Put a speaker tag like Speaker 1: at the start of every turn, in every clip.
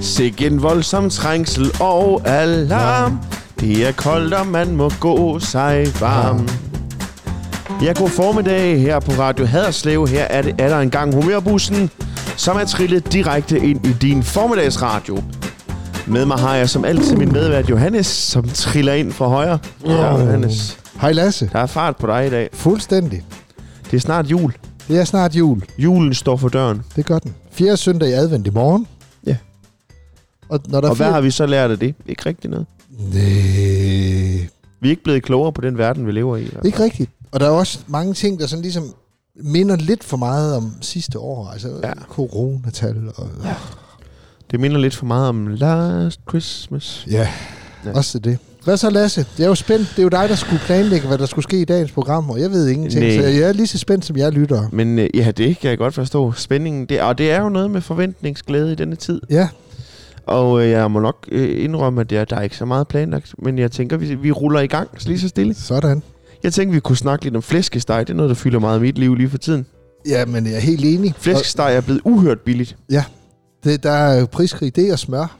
Speaker 1: Sikke en voldsom trængsel og alarm. Det er koldt, og man må gå sig varm. Ja, god formiddag her på Radio Haderslev. Her er det er der engang humørbussen, som er trillet direkte ind i din formiddagsradio. Med mig har jeg som altid min medvært Johannes, som triller ind fra højre. Ja, Johannes,
Speaker 2: Hej Lasse.
Speaker 1: der er fart på dig i dag.
Speaker 2: Fuldstændig.
Speaker 1: Det er snart jul.
Speaker 2: Det er snart jul.
Speaker 1: Julen står for døren.
Speaker 2: Det gør den. Fjerde søndag i advent i morgen.
Speaker 1: Ja.
Speaker 2: Og når der
Speaker 1: Og hvad har vi så lært af det? Ikke rigtig noget.
Speaker 2: Næh,
Speaker 1: Vi er ikke blevet klogere på den verden, vi lever i. i hvert fald.
Speaker 2: ikke rigtigt. Og der er også mange ting, der sådan ligesom minder lidt for meget om sidste år. Altså
Speaker 1: Ja.
Speaker 2: ja. coronatal og... Ja.
Speaker 1: Det minder lidt for meget om Last Christmas.
Speaker 2: ja.
Speaker 1: Ja.
Speaker 2: Også det. Hvad så Lasse? Jeg er jo spændt. Det er jo dig, der skulle planlægge, hvad der skulle ske i dagens program, og jeg ved ingenting.
Speaker 1: Næh.
Speaker 2: Så jeg er lige så spændt, som jeg lytter.
Speaker 1: Men øh, ja, det kan jeg godt forstå. Spændingen, det, og det er jo noget med forventningsglæde i denne tid.
Speaker 2: Ja,
Speaker 1: Og øh, jeg må nok øh, indrømme, at jeg, der er ikke så meget planlagt. Men jeg tænker, vi, vi ruller i gang lige så stille.
Speaker 2: sådan.
Speaker 1: Jeg tænker, vi kunne snakke lidt om flæskesteg. Det er noget, der fylder meget i mit liv lige for tiden.
Speaker 2: Ja, men jeg er helt enig.
Speaker 1: Flæskesteg er blevet uhørt billigt.
Speaker 2: Og Det, der er jo priskrig, det er smør.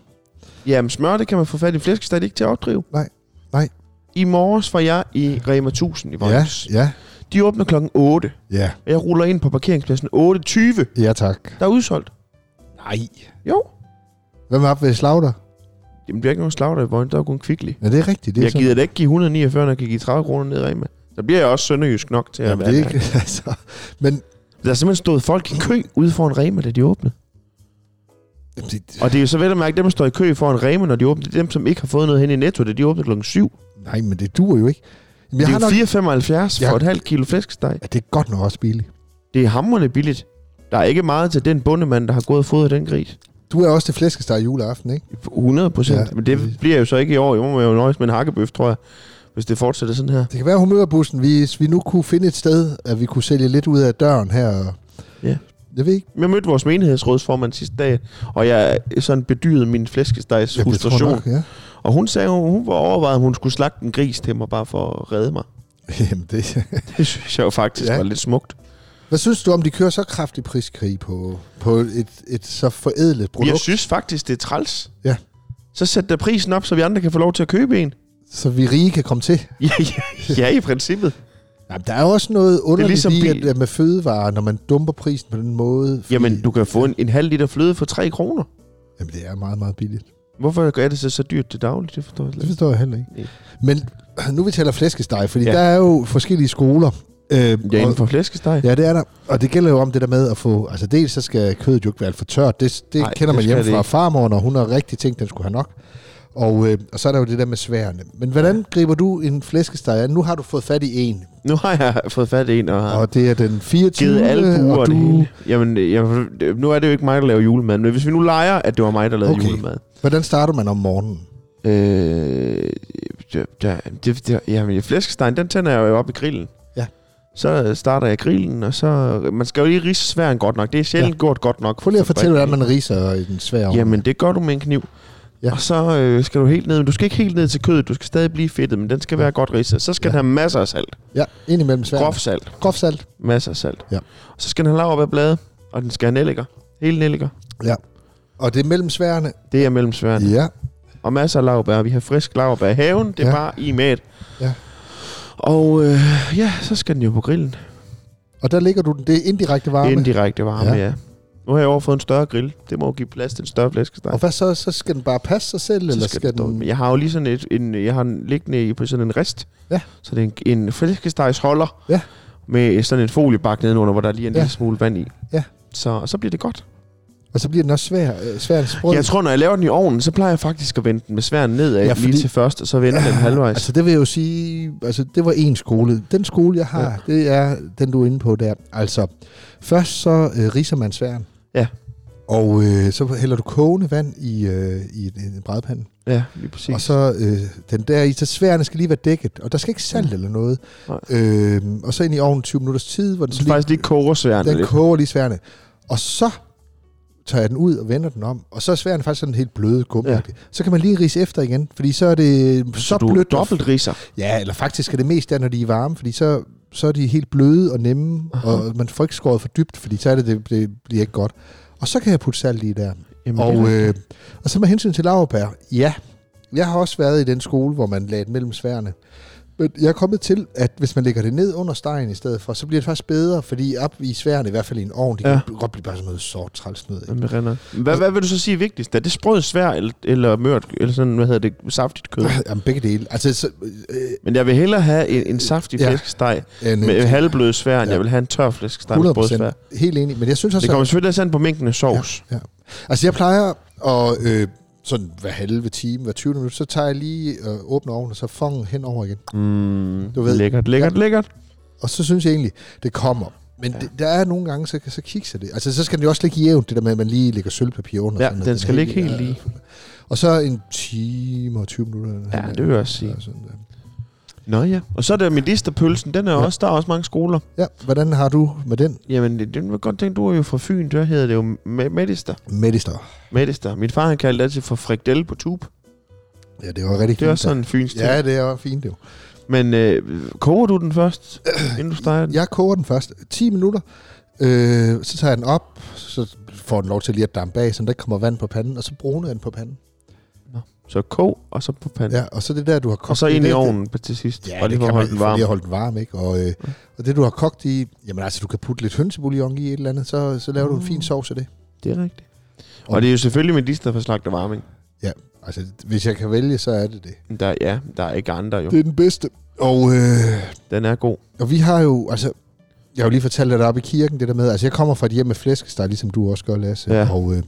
Speaker 1: Jamen smør, det kan man få fat i. Flæskesteg det er ikke til at opdrive.
Speaker 2: Nej, nej.
Speaker 1: I morges var jeg i Rema 1000 i
Speaker 2: Ja,
Speaker 1: Vojens. Ja.
Speaker 2: ja,
Speaker 1: De åbner klokken 8.
Speaker 2: ja.
Speaker 1: Og jeg ruller ind på parkeringspladsen 8.20.
Speaker 2: Ja, tak.
Speaker 1: Der er udsolgt.
Speaker 2: Nej.
Speaker 1: Jo.
Speaker 2: Hvem er oppe ved Slauter? Jamen,
Speaker 1: Jamen, der er ikke nogen slagter i Vojens. Der er jo kun kvicklig.
Speaker 2: Ja, det er rigtigt. Det er
Speaker 1: Jeg gider da ikke give 149, når jeg kan give 30 kroner ned i Rema. Der bliver jeg også sønderjysk nok til at
Speaker 2: Jamen,
Speaker 1: være
Speaker 2: det er
Speaker 1: der.
Speaker 2: ikke, altså, men
Speaker 1: Der er simpelthen stået folk i kø ude foran Rema, da de åbnede.
Speaker 2: jamen, det,
Speaker 1: Og det er jo så vel at mærke, dem, der står i kø foran Rema, når de åbner, det er dem, som ikke har fået noget hen i Netto, da de åbner klokken 7.
Speaker 2: nej, men det duer jo ikke. Jamen,
Speaker 1: Det
Speaker 2: jeg
Speaker 1: er
Speaker 2: har nok,
Speaker 1: jo 4,75 for
Speaker 2: Ja.
Speaker 1: et halvt kilo flæskesteg.
Speaker 2: ja, det er godt nok også billigt.
Speaker 1: Det er hamrende billigt. Der er ikke meget til den bondemand, der har gået og fodret den gris.
Speaker 2: Du er også til flæskesteg juleaften, ikke?
Speaker 1: 100 procent. Ja,
Speaker 2: Ja,
Speaker 1: Men det
Speaker 2: præcis.
Speaker 1: bliver jo så ikke i år. Jeg må jo nøjes med en hakkebøf, tror jeg. Hvis det fortsætter sådan her.
Speaker 2: Det kan være humørbussen, hvis vi nu kunne finde et sted, at vi kunne sælge lidt ud af døren her. og-
Speaker 1: Ja.
Speaker 2: Jeg ved ikke.
Speaker 1: Jeg mødte vores menighedsrådsformand sidste dag, og jeg sådan bedyrede min flæskestegs
Speaker 2: Jamen, det tror jeg
Speaker 1: frustration.
Speaker 2: nok, Ja.
Speaker 1: Og hun sagde, hun, hun var overvejet, om hun skulle slagte en gris til mig, bare for at redde mig.
Speaker 2: Jamen, det.
Speaker 1: Det synes jeg jo faktisk ja.
Speaker 2: Ja.
Speaker 1: var lidt smukt.
Speaker 2: Hvad synes du om, de kører så kraftig priskrig på, på et, et så forædlet produkt?
Speaker 1: Jeg synes faktisk, det er træls.
Speaker 2: Ja.
Speaker 1: Så sæt da prisen op, så vi andre kan få lov til at købe en.
Speaker 2: Så vi rige kan komme til.
Speaker 1: Ja, ja, ja i princippet.
Speaker 2: Jamen, der er jo også noget underligt
Speaker 1: ligesom
Speaker 2: ligesom i,
Speaker 1: bil-
Speaker 2: at, at med fødevarer, når man dumper prisen på den måde. fordi-
Speaker 1: Jamen, du kan få en, en halv liter fløde for 3 kroner.
Speaker 2: Jamen, det er meget, meget billigt.
Speaker 1: Hvorfor gør jeg det så, så dyrt til dagligt? Det forstår jeg slet
Speaker 2: Det
Speaker 1: ikke.
Speaker 2: forstår jeg heller
Speaker 1: Nej.
Speaker 2: ikke. Men nu vi taler flæskesteg, fordi
Speaker 1: Ja.
Speaker 2: ja. der er jo forskellige skoler. Øh,
Speaker 1: Ja,
Speaker 2: og,
Speaker 1: inden for flæskesteg.
Speaker 2: ja, det er der. Og det gælder jo om det der med at få... Altså dels så skal kødet jo ikke være alt for tørt. Det, det
Speaker 1: Nej,
Speaker 2: Ej, kender
Speaker 1: det
Speaker 2: man
Speaker 1: skal
Speaker 2: hjemme
Speaker 1: det
Speaker 2: fra
Speaker 1: ikke.
Speaker 2: farmor, når hun har rigtig tænkt, den skulle have nok. Og, øh, og så er der jo det der med sværene. Men hvordan griber du en flæskesteg an? Nu har du fået fat i en,
Speaker 1: Nu har jeg fået fat i en, og har
Speaker 2: og det er den 24.
Speaker 1: givet alle
Speaker 2: og
Speaker 1: buer
Speaker 2: du,
Speaker 1: det hele. Jamen, jamen, det- nu er det jo ikke mig, der laver julemad, men hvis vi nu leger, at det var mig, der lavede okay.
Speaker 2: Okay.
Speaker 1: julemad.
Speaker 2: Hvordan starter man om morgenen?
Speaker 1: Øh, der, der, det, der, jamen, flæskestegen, den tænder jeg jo op i grillen.
Speaker 2: Ja.
Speaker 1: Så øh, starter jeg grillen, og så... Man skal jo lige ridse sværen godt nok. Det er sjældent ja. gjort godt nok.
Speaker 2: Prøv lige at fortælle, hvordan man riser i den svære ovn.
Speaker 1: Jamen, det gør du med en kniv. Ja.
Speaker 2: Ja.
Speaker 1: Og så øh, skal du helt ned. Men du skal ikke helt ned til kødet. Du skal stadig blive fedtet, men den skal være godt ridset. Så skal ja.
Speaker 2: Ja.
Speaker 1: den have masser af salt.
Speaker 2: Ja, ind imellem sværen.
Speaker 1: Groft salt.
Speaker 2: Groft salt.
Speaker 1: Masser af salt.
Speaker 2: Ja.
Speaker 1: Og så skal den have lav op af blade, og den skal have nelliker. Hele nelliker.
Speaker 2: Ja. Og det er mellem sværene.
Speaker 1: Det er mellem sværene.
Speaker 2: Ja.
Speaker 1: og masser af laurbær. Vi har frisk laurbær i haven. Det er ja.
Speaker 2: Ja.
Speaker 1: bare i mad.
Speaker 2: Ja.
Speaker 1: Og øh, ja, så skal den jo på grillen.
Speaker 2: Og der ligger du den. Det er indirekte varme.
Speaker 1: Indirekte varme, ja.
Speaker 2: Ja.
Speaker 1: ja. Nu har jeg overfået en større grill. Det må jo give plads til en større flæskesteg.
Speaker 2: og hvad så? Så skal den bare passe sig selv,
Speaker 1: Så
Speaker 2: eller
Speaker 1: skal
Speaker 2: skal
Speaker 1: den stå-
Speaker 2: den...
Speaker 1: Men Jeg har jo lige sådan et, en, jeg har den liggende i- på sådan en rist.
Speaker 2: Ja.
Speaker 1: Så det er en, en flæskestegsholder.
Speaker 2: Ja.
Speaker 1: Med sådan en foliebakke nedenunder, hvor der lige er en ja.
Speaker 2: Ja.
Speaker 1: lille smule vand i.
Speaker 2: Ja.
Speaker 1: Så, og så bliver det godt.
Speaker 2: Og så bliver den også svær, øh, svær end sprød.
Speaker 1: Jeg tror, når jeg laver den i ovnen, så plejer jeg faktisk at vende den med sværen nedad ja,
Speaker 2: Ja,
Speaker 1: fordi... lige
Speaker 2: fordi-
Speaker 1: til først, og så vende den halvvejs.
Speaker 2: Altså det vil jeg jo sige, altså det var en skole. Den skole, jeg har, ja. det er den, du er inde på der. Altså, først så øh, riser man sværen.
Speaker 1: Ja.
Speaker 2: Og øh, så hælder du kogende vand i, øh, i en, en brædpande.
Speaker 1: Ja, lige præcis.
Speaker 2: Og så øh, den der i, så sværene skal lige være dækket, og der skal ikke salt eller noget.
Speaker 1: Mm. Nej.
Speaker 2: Øh, og så ind i ovnen 20 minutters tid, hvor den,
Speaker 1: så
Speaker 2: så
Speaker 1: faktisk lige koger sværen
Speaker 2: den
Speaker 1: lidt.
Speaker 2: koger lige sværene. Og så tager jeg den ud og vender den om, og så er sværene faktisk sådan helt bløde gummi.
Speaker 1: Ja.
Speaker 2: Ja. Så kan man lige rise efter igen, fordi så er det så,
Speaker 1: Så du
Speaker 2: blødt.
Speaker 1: dobbelt riser.
Speaker 2: Ja, eller faktisk er det mest der, når de er varme, fordi så, så er de helt bløde og nemme,
Speaker 1: Aha.
Speaker 2: og man får ikke skåret for dybt, fordi så er det, det, det bliver ikke godt. Og så kan jeg putte salt i der.
Speaker 1: Jamen, det er
Speaker 2: Og,
Speaker 1: rigtigt.
Speaker 2: øh, og så med hensyn til lavbær, ja, jeg har også været i den skole, hvor man lagde det mellem sværene. Men jeg er kommet til, at hvis man lægger det ned under stegen i stedet for, så bliver det faktisk bedre, fordi op i sværene, i hvert fald i en ovn, det
Speaker 1: Ja.
Speaker 2: ja. kan godt blive bare sådan noget sort træls noget.
Speaker 1: Jamen, det renner. Hvad, hvad vil du så sige er vigtigst? Er det sprød, svær eller, eller mørt, eller sådan, hvad hedder det, saftigt kød?
Speaker 2: ikke? Jamen begge dele. Altså, så,
Speaker 1: Men jeg vil hellere have en, en saftig
Speaker 2: Ja.
Speaker 1: flæskesteg
Speaker 2: øh, en,
Speaker 1: med halvblød svær, end
Speaker 2: Ja.
Speaker 1: jeg vil have en tør flæskesteg med sprød svær.
Speaker 2: 100% helt enig, men jeg synes også,
Speaker 1: Det
Speaker 2: at-
Speaker 1: kommer selvfølgelig også an på mængden af sovs.
Speaker 2: Ja. Altså, jeg plejer at øh, sådan hver halve time, hver 20 minutter, så tager jeg lige øh, åbner ovnen, og så fangen hen over igen.
Speaker 1: Mm,
Speaker 2: Du ved.
Speaker 1: Lækkert, lækkert, lækkert.
Speaker 2: Og så synes jeg egentlig, det kommer. Men
Speaker 1: Ja.
Speaker 2: ja. det, der er nogle gange, så, så kikser det. Altså, så skal den jo også ligge jævnt, det der med, at man lige lægger sølvpapir under.
Speaker 1: Ja,
Speaker 2: sådan, at
Speaker 1: den skal ligge helt
Speaker 2: er- øh,
Speaker 1: lige.
Speaker 2: Og så en time og 20 minutter. eller
Speaker 1: Ja,
Speaker 2: sådan
Speaker 1: det vil jeg også sige.
Speaker 2: noget. Sådan, der.
Speaker 1: Nå ja. Og så er der medisterpølsen. Den er
Speaker 2: Ja.
Speaker 1: også, der er også mange skoler.
Speaker 2: ja, hvordan har du med den,
Speaker 1: Jamen, det, den var godt tænkt, du er jo fra Fyn. Der hedder det jo me- medister.
Speaker 2: Medister?
Speaker 1: Medister. Min far, han kaldte det altid for frikdelle på tube.
Speaker 2: Ja, det var rigtig
Speaker 1: Det er også
Speaker 2: fint.
Speaker 1: sådan en fyns ting.
Speaker 2: Ja, det er også fint, det var.
Speaker 1: Men øh, koger du den først, inden du steger den?
Speaker 2: Jeg koger den først 10 minutter, øh, så tager jeg den op, så får den lov til lige at dampe af, så der ikke kommer vand på panden, og så bruner jeg den på panden.
Speaker 1: Så kog, og så på panden. Ja,
Speaker 2: Ja, og så det der, du har kogt
Speaker 1: og så
Speaker 2: i
Speaker 1: ind i
Speaker 2: det-
Speaker 1: ovnen på- til sidst.
Speaker 2: Ja,
Speaker 1: og lige
Speaker 2: det
Speaker 1: for at
Speaker 2: kan
Speaker 1: holde
Speaker 2: man
Speaker 1: den
Speaker 2: for
Speaker 1: varm.
Speaker 2: lige at holde den varm, ikke? Og, øh, og det, du har kogt i, jamen altså, du kan putte lidt hønsebouillon i et eller andet, så, så laver du en fin
Speaker 1: Mm.
Speaker 2: sovs af det.
Speaker 1: Det er rigtigt. Og det er jo selvfølgelig medister for slagt og varming.
Speaker 2: Altså, hvis jeg kan vælge, så er det det.
Speaker 1: Men Der, ja, der er ikke andre jo.
Speaker 2: Det er den bedste. Og, øh,
Speaker 1: Den er god.
Speaker 2: og vi har jo, altså, jeg har jo lige fortalt dig deroppe i kirken, det der med, altså, jeg kommer fra et hjem med flæskesteg, ligesom du også gør, Lasse.
Speaker 1: Ja.
Speaker 2: Og øh,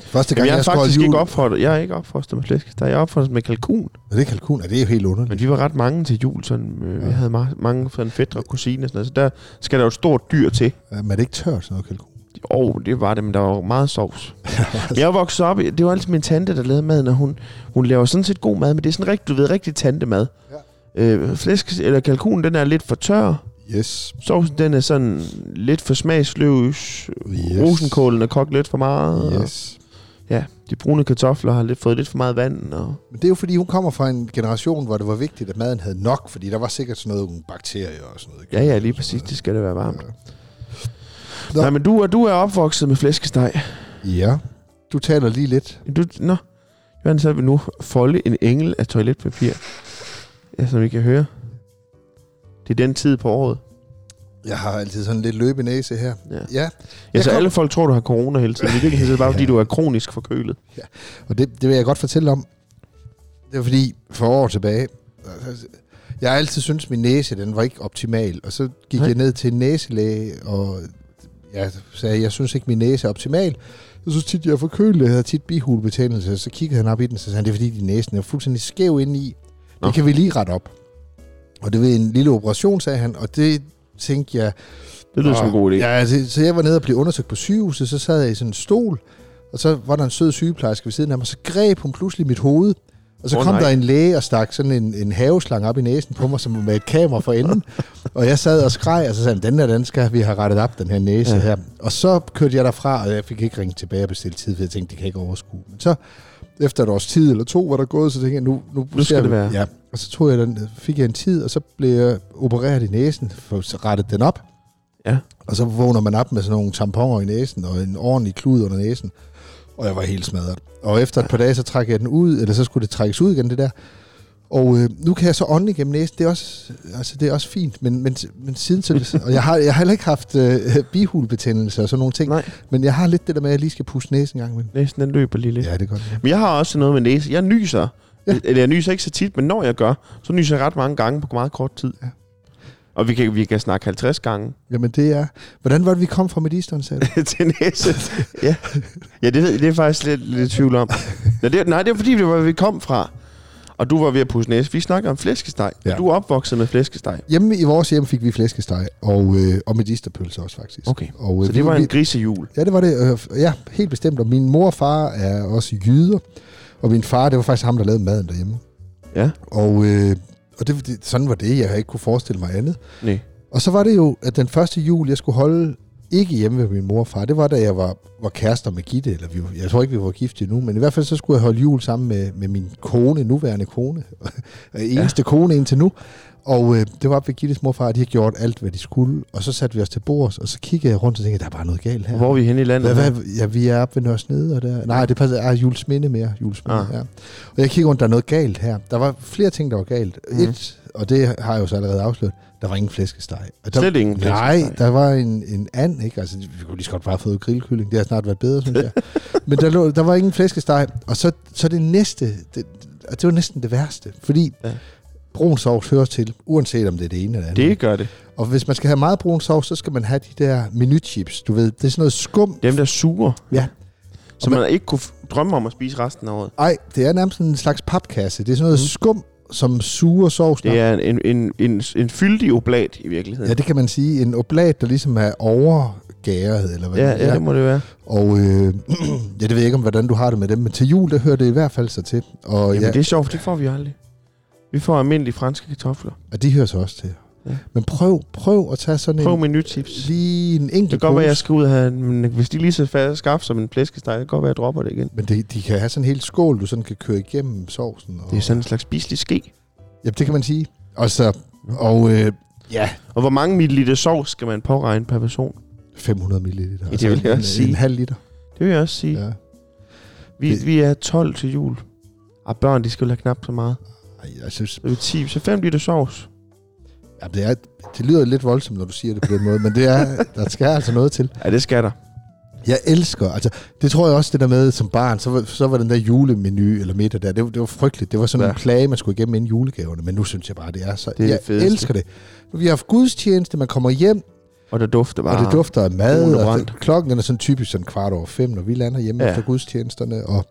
Speaker 2: første gang,
Speaker 1: Jamen, jeg er
Speaker 2: skulle holde
Speaker 1: faktisk ikke
Speaker 2: jul-
Speaker 1: opfordret. Jeg er ikke opfostret med flæskesteg. Jeg er opfordret med kalkun.
Speaker 2: Nå, det er kalkun, og det er jo helt underligt.
Speaker 1: Men vi var ret mange til jul. Sådan, øh, ja.
Speaker 2: Ja.
Speaker 1: Jeg havde ma- mange sådan fætter og kusiner. og Sådan noget, så der skal der jo et stort dyr til.
Speaker 2: Men er det ikke tørt, sådan noget kalkun?
Speaker 1: Jo, det var det, men der var jo meget sovs. Men jeg voksede op, i- det var altid min tante, der lavede maden, og hun, hun laver sådan set god mad, men det er sådan rigtig, du ved, rigtig tantemad. Ja. Øh, flæsk, eller kalkunen, den er lidt for tør.
Speaker 2: Yes.
Speaker 1: Sovsen, den er sådan lidt for smagsløs. Yes.
Speaker 2: Yes.
Speaker 1: Rosenkålen er kogt lidt for meget. Og,
Speaker 2: Yes.
Speaker 1: ja, de brune kartofler har lidt, fået lidt for meget vand. Og,
Speaker 2: Men det er jo fordi, hun kommer fra en generation, hvor det var vigtigt, at maden havde nok, fordi der var sikkert sådan noget nogle bakterier og sådan noget.
Speaker 1: ja, ja, lige præcis, det skal det være varmt.
Speaker 2: Nå.
Speaker 1: Nej, men du, er- du er opvokset med flæskesteg.
Speaker 2: Ja. Du taler lige lidt.
Speaker 1: Du, nå, Johannes, så vil nu folde en engel af toiletpapir. Ja, som vi kan høre. Det er den tid på året.
Speaker 2: Jeg har altid sådan lidt løb i næse her.
Speaker 1: Ja.
Speaker 2: Ja,
Speaker 1: Ja,
Speaker 2: Jeg
Speaker 1: så
Speaker 2: kom-
Speaker 1: alle folk tror, du har corona hele tiden. I virkeligheden er det bare, fordi
Speaker 2: Ja.
Speaker 1: du er kronisk forkølet.
Speaker 2: og det, det vil jeg godt fortælle om. Det var fordi, for år tilbage, altså, jeg har altid syntes, min næse, den var ikke optimal. Og så gik
Speaker 1: Nej.
Speaker 2: Nej. jeg ned til en næselæge, og jeg sagde, jeg synes ikke, min næse er optimal. Jeg synes tit, jeg er forkølet. Jeg havde tit bihulebetændelse. Så kiggede han op i den, så sagde han, det er fordi, din næsen er fuldstændig skæv indeni.
Speaker 1: Nå.
Speaker 2: Det kan vi lige rette op. Og det var en lille operation, sagde han, og det tænkte jeg,
Speaker 1: Det lyder som en
Speaker 2: Og-
Speaker 1: god idé.
Speaker 2: Ja, altså, så jeg var nede og blev undersøgt på sygehuset, så sad jeg i sådan en stol, og så var der en sød sygeplejerske ved siden af mig, og så greb hun pludselig mit hoved, og så
Speaker 1: Åh,
Speaker 2: oh, kom
Speaker 1: nej.
Speaker 2: nej. der en læge og stak sådan en, en haveslange op i næsen på mig, som med et kamera for enden. og jeg sad og skreg, og så sagde han, den der, den skal vi have rettet op, den her næse
Speaker 1: Ja.
Speaker 2: ja. her. Og så kørte jeg derfra, og jeg fik ikke ringet tilbage og bestilt tid, for jeg tænkte, det kan jeg ikke overskue. Men så efter et års tid eller to var der gået, så tænkte jeg, nu, nu,
Speaker 1: Nu skal
Speaker 2: ser
Speaker 1: det
Speaker 2: vi-
Speaker 1: være.
Speaker 2: Ja. Og så tog jeg den, fik jeg en tid, og så blev jeg opereret i næsen, for så rettet den op.
Speaker 1: Ja.
Speaker 2: Og så vågner man op med sådan nogle tamponer i næsen, og en ordentlig klud under næsen. Og jeg var helt smadret. Og efter et par dage, så trak jeg den ud, eller så skulle det trækkes ud igen, det der. Og øh, nu kan jeg så ånde igennem næsen. Det er også, altså, det er også fint, men, men, men siden så... og jeg har, jeg har heller ikke haft øh, bihulbetændelse og sådan nogle ting.
Speaker 1: Nej.
Speaker 2: Men jeg har lidt det der med, at jeg lige skal puste næsen en gang imellem.
Speaker 1: Næsten den løber lige lidt.
Speaker 2: Ja, det er godt.
Speaker 1: Men jeg har også noget med næse. Jeg nyser. Ja.
Speaker 2: Ja.
Speaker 1: Eller jeg nyser ikke så tit, men når jeg gør, så nyser jeg ret mange gange på meget kort tid. Ja.
Speaker 2: Ja.
Speaker 1: Og vi kan, vi kan snakke 50 gange
Speaker 2: Jamen det er... Hvordan var det, vi kom fra medisteren, sagde du?
Speaker 1: til næse. Ja, ja det, ved, det er faktisk lidt, lidt i tvivl om. Nå, det, nej, det er fordi, det var, hvor vi kom fra. Og du var ved at pusse næse. Vi snakker om flæskesteg. Ja.
Speaker 2: Ja.
Speaker 1: Du er opvokset med flæskesteg.
Speaker 2: Hjemme i vores hjem fik vi flæskesteg og, øh, og medisterpølse også, faktisk.
Speaker 1: Okay.
Speaker 2: Og, øh,
Speaker 1: Så det
Speaker 2: vi-
Speaker 1: var
Speaker 2: vi-
Speaker 1: en grisejul.
Speaker 2: Ja, det var det. Øh, Ja, helt bestemt. Og min mor og far er også jyder. Og min far, det var faktisk ham, der lavede maden derhjemme.
Speaker 1: Ja.
Speaker 2: Og, øh, og det, det, sådan var det. Jeg har ikke kunne forestille mig andet.
Speaker 1: Nej.
Speaker 2: Og så var det jo, at den første jul, jeg skulle holde ikke hjemme ved min mor og far. Det var, da jeg var, var kærester med Gitte, eller vi, var- jeg tror ikke, vi var gift endnu, men i hvert fald så skulle jeg holde jul sammen med, med min kone, nuværende kone, eneste ja. kone indtil nu. Og øh, det var op ved Gittes mor og far, og de har gjort alt, hvad de skulle, og så satte vi os til bords, og så kiggede jeg rundt og tænkte, der er bare noget galt her.
Speaker 1: Hvor er vi henne i landet?
Speaker 2: Hvad, hvad, ja, vi er oppe ved Nørres Nede, og der... Nej, det passer. Ah, Jules Minde mere. Jules Minde,
Speaker 1: Ah.
Speaker 2: ja. Og jeg kigger rundt, der er noget galt her. Der var flere ting, der var galt.
Speaker 1: Mhm.
Speaker 2: Mm. Et, og det har jeg jo så allerede afsløret, der var ingen flæskesteg. Og der,
Speaker 1: Slet ingen
Speaker 2: Nej, der var en, en and, ikke? Altså, vi kunne lige så godt bare have fået grillkylling. Det har snart været bedre, synes jeg. Men der, lå, der var ingen flæskesteg. Og så, så det næste, det, og det var næsten det værste, fordi...
Speaker 1: Ja.
Speaker 2: Ja. Brun sovs hører til, uanset om det er det ene eller andet.
Speaker 1: Det gør det.
Speaker 2: Og hvis man skal have meget brun sovs, så skal man have de der menuchips. Du ved, det er sådan noget skum.
Speaker 1: Dem, der suger.
Speaker 2: Ja.
Speaker 1: Så
Speaker 2: Og
Speaker 1: man ikke kunne f- drømme om at spise resten af året.
Speaker 2: Nej, det er nærmest en slags papkasse. Det er sådan noget mm. skum, som suger sovsen.
Speaker 1: Det
Speaker 2: op.
Speaker 1: er en, en, en, en fyldig oblat i virkeligheden.
Speaker 2: Ja, det kan man sige. En oblat, der ligesom er overgæret, eller hvad
Speaker 1: ja,
Speaker 2: det
Speaker 1: ja,
Speaker 2: er.
Speaker 1: det må det være.
Speaker 2: Og øh, ja, det ved jeg ikke, om hvordan du har det med dem, men til jul, der hører det i hvert fald sig til. Og,
Speaker 1: Jamen,
Speaker 2: ja,
Speaker 1: det er sjovt, for det får vi aldrig. Vi får almindelige franske kartofler.
Speaker 2: og de hører sig også til.
Speaker 1: Ja.
Speaker 2: Ja. Men prøv, prøv at tage sådan
Speaker 1: Prøv
Speaker 2: en,
Speaker 1: med nye tips.
Speaker 2: lige en enkelt
Speaker 1: Det kan godt være,
Speaker 2: pose.
Speaker 1: jeg skal ud og have, men hvis de lige så fast skaffe som en flæskesteg, det kan godt være, jeg dropper det igen.
Speaker 2: Men de, de kan have sådan en hel skål, du sådan kan køre igennem sovsen. Og,
Speaker 1: Det er sådan en slags spiselig ske.
Speaker 2: Jamen, det kan man sige. Og så, og øh, ja,
Speaker 1: Og hvor mange milliliter sovs skal man påregne per person?
Speaker 2: 500 milliliter.
Speaker 1: det vil jeg
Speaker 2: en,
Speaker 1: også sige.
Speaker 2: En halv liter.
Speaker 1: Det vil jeg også sige. Ja.
Speaker 2: Ja.
Speaker 1: Vi,
Speaker 2: det-
Speaker 1: vi er 12 til jul. Og børn, de skal jo have knap så meget.
Speaker 2: Ej, jeg synes,
Speaker 1: Så er vi 10, så 5 liter sovs.
Speaker 2: Ja, det, er, det lyder lidt voldsomt, når du siger det på den måde, men det er, der skal altså noget til.
Speaker 1: Ja, det skal der.
Speaker 2: Jeg elsker, altså det tror jeg også, det der med som barn, så var, så var den der julemenu eller middag der, det, var- det var frygteligt. Det var sådan ja.
Speaker 1: Ja.
Speaker 2: en plage, man skulle igennem inden julegaverne, men nu synes jeg bare, det er så...
Speaker 1: Det er det
Speaker 2: jeg
Speaker 1: fedeste.
Speaker 2: elsker det. Vi har haft gudstjeneste, man kommer hjem,
Speaker 1: Og der dufter bare.
Speaker 2: og det dufter af mad,
Speaker 1: Ole
Speaker 2: og
Speaker 1: Brandt.
Speaker 2: det, klokken den er sådan typisk sådan kvart over fem, når vi lander hjemme
Speaker 1: Ja.
Speaker 2: ja. efter gudstjenesterne, og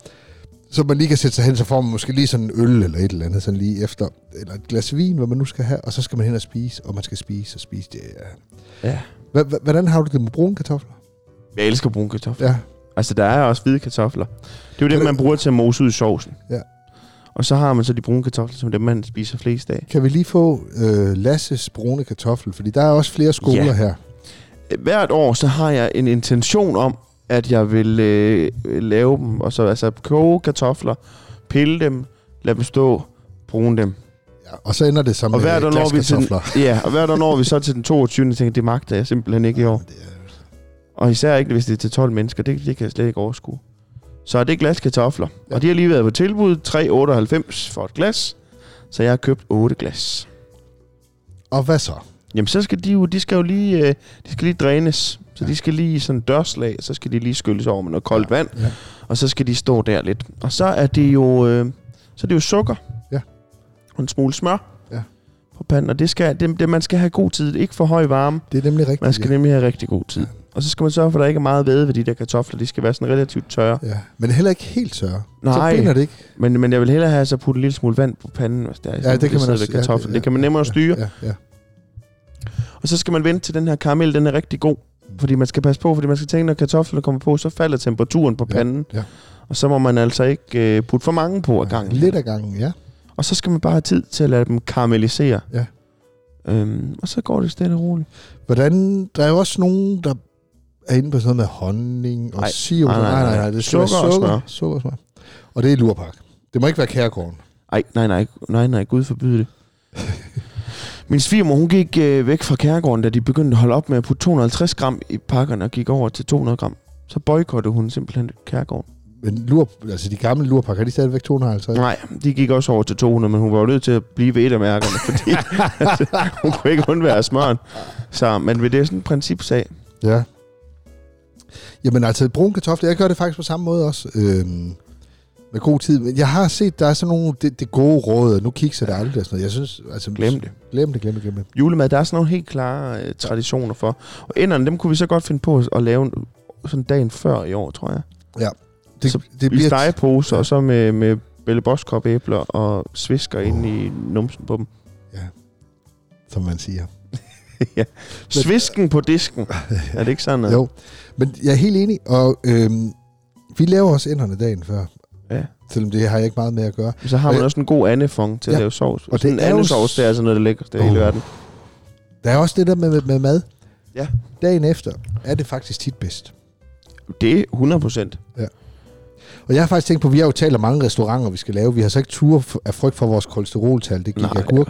Speaker 2: så man lige kan sætte sig hen, så får man måske lige sådan en øl eller et eller andet, sådan lige efter, eller et glas vin, hvad man nu skal have, og så skal man hen og spise, og man skal spise og spise. Det er
Speaker 1: Ja.
Speaker 2: Hva- hva- Hvordan har du det med brune kartofler?
Speaker 1: Jeg elsker brune kartofler.
Speaker 2: Ja.
Speaker 1: Altså, der er også hvide kartofler. Det er jo dem, man bruger til at mose ud i sovsen.
Speaker 2: Ja.
Speaker 1: Og så har man så de brune kartofler, som dem, man spiser flest af.
Speaker 2: Kan vi lige få øh, Lasses brune kartoffel? Fordi der er også flere skoler
Speaker 1: Ja.
Speaker 2: ja. her.
Speaker 1: hvert år, så har jeg en intention om, at jeg vil øh, lave dem, og så altså koge kartofler, pille dem, lade dem stå, brune dem.
Speaker 2: Ja. Og så ender det som
Speaker 1: Og
Speaker 2: øh,
Speaker 1: hvert år når vi til den,
Speaker 2: glaskartofler.
Speaker 1: ja, og hvert år når vi så til den 22. og tænker, det magter jeg simpelthen ikke i år.
Speaker 2: Det er-
Speaker 1: Og især ikke, hvis det er til 12 mennesker, det, det kan jeg slet ikke overskue. Så er det glaskartofler, ja.
Speaker 2: Ja.
Speaker 1: og de har lige været på tilbud 3,98 for et glas, så jeg har købt 8 glas.
Speaker 2: Og hvad så?
Speaker 1: Jamen, så skal de jo, de skal jo lige, øh, de skal lige drænes. Så de skal lige i sådan en dørslag, så skal de lige skylles over med noget koldt vand.
Speaker 2: Ja.
Speaker 1: Og så skal de stå der lidt. Og så er det jo, øh, så er det jo sukker.
Speaker 2: Ja.
Speaker 1: Og en smule smør.
Speaker 2: Ja.
Speaker 1: På panden. Og det skal, det, det, man skal have god tid. Ikke for høj varme.
Speaker 2: Det er nemlig rigtigt.
Speaker 1: Man skal
Speaker 2: ja.
Speaker 1: nemlig have rigtig god tid. Og så skal man sørge for, at der ikke er meget væde ved de der kartofler. De skal være sådan relativt tørre.
Speaker 2: Ja. Men heller ikke helt tørre.
Speaker 1: Nej.
Speaker 2: Så binder det ikke.
Speaker 1: Men, men jeg vil hellere have så putte en lille smule vand på panden. Hvis der, er sådan,
Speaker 2: det kan man
Speaker 1: sidder
Speaker 2: også-
Speaker 1: ved
Speaker 2: ja, det-
Speaker 1: kartoflen.
Speaker 2: ja,
Speaker 1: det kan man nemmere styre.
Speaker 2: Ja, ja.
Speaker 1: Og så skal man vente til den her karamel, den er rigtig god.
Speaker 2: Mm.
Speaker 1: Fordi man skal passe på, fordi man skal tænke, når kartoflerne kommer på, så falder temperaturen på
Speaker 2: Ja,
Speaker 1: panden.
Speaker 2: ja.
Speaker 1: Og så må man altså ikke øh, putte for mange på ad gangen.
Speaker 2: Lidt af gangen, ja.
Speaker 1: Og så skal man bare have tid til at lade dem karamellisere.
Speaker 2: Ja.
Speaker 1: Øhm, og så går det stille og roligt.
Speaker 2: Hvordan, der er jo også nogen, der er inde på sådan noget med honning og
Speaker 1: Nej.
Speaker 2: sirup.
Speaker 1: Nej, nej, nej.
Speaker 2: Det skal
Speaker 1: Sukker
Speaker 2: være
Speaker 1: og
Speaker 2: sukker, sukker og smør. Og det er lurpak. Det må ikke være kærgården.
Speaker 1: Ej, nej, nej, nej, nej, Gud forbyde det. Min svigermor, hun gik øh, væk fra kærgården, da de begyndte at holde op med at putte 250 gram i pakkerne og gik over til 200 gram. Så boykottede hun simpelthen kærgården.
Speaker 2: Men lur, altså de gamle lurpakker, er de stadigvæk 250?
Speaker 1: Nej, de gik også over til 200, men hun var jo nødt til at blive ved et af mærkerne, fordi altså, hun kunne ikke undvære smøren. Så, men ved det er sådan en principsag.
Speaker 2: Ja. Jamen altså, brun kartofler, jeg gør det faktisk på samme måde også. Øhm, med god tid. Men jeg har set, der er sådan nogle, det, det gode råd, og nu kigger det aldrig og sådan noget. Jeg synes, altså,
Speaker 1: Glem det.
Speaker 2: glem det, glem det, glem det.
Speaker 1: Julemad, der er sådan nogle helt klare øh, traditioner for. Og enderne, dem kunne vi så godt finde på at lave en- sådan dagen før i år, tror jeg.
Speaker 2: Det,
Speaker 1: Så
Speaker 2: det
Speaker 1: I stegeposer,
Speaker 2: Ja.
Speaker 1: og så med, med Belle Boskop æbler og svisker oh. ind i numsen på dem.
Speaker 2: som man siger.
Speaker 1: Svisken på disken. Er det ikke sådan noget?
Speaker 2: Jo, men jeg er helt enig, og øhm, vi laver også ænderne dagen før.
Speaker 1: Ja.
Speaker 2: Selvom det har jeg ikke meget med at gøre.
Speaker 1: Så har
Speaker 2: Og
Speaker 1: man
Speaker 2: jeg-
Speaker 1: også en god andefong til at
Speaker 2: Ja,
Speaker 1: lave sovs. Og
Speaker 2: og
Speaker 1: sådan en
Speaker 2: det er jo
Speaker 1: andesovs,
Speaker 2: s-
Speaker 1: det er altså noget, der lækkert i hele
Speaker 2: Uh.
Speaker 1: verden.
Speaker 2: Der er også det der med, med, med mad.
Speaker 1: Ja.
Speaker 2: Dagen efter er det faktisk tit bedst.
Speaker 1: Det er 100 procent.
Speaker 2: Og jeg har faktisk tænkt på, at vi har jo talt om mange restauranter, vi skal lave. Vi har så ikke tur af frygt for vores kolesteroltal, det gik
Speaker 1: Nej.
Speaker 2: af gurk.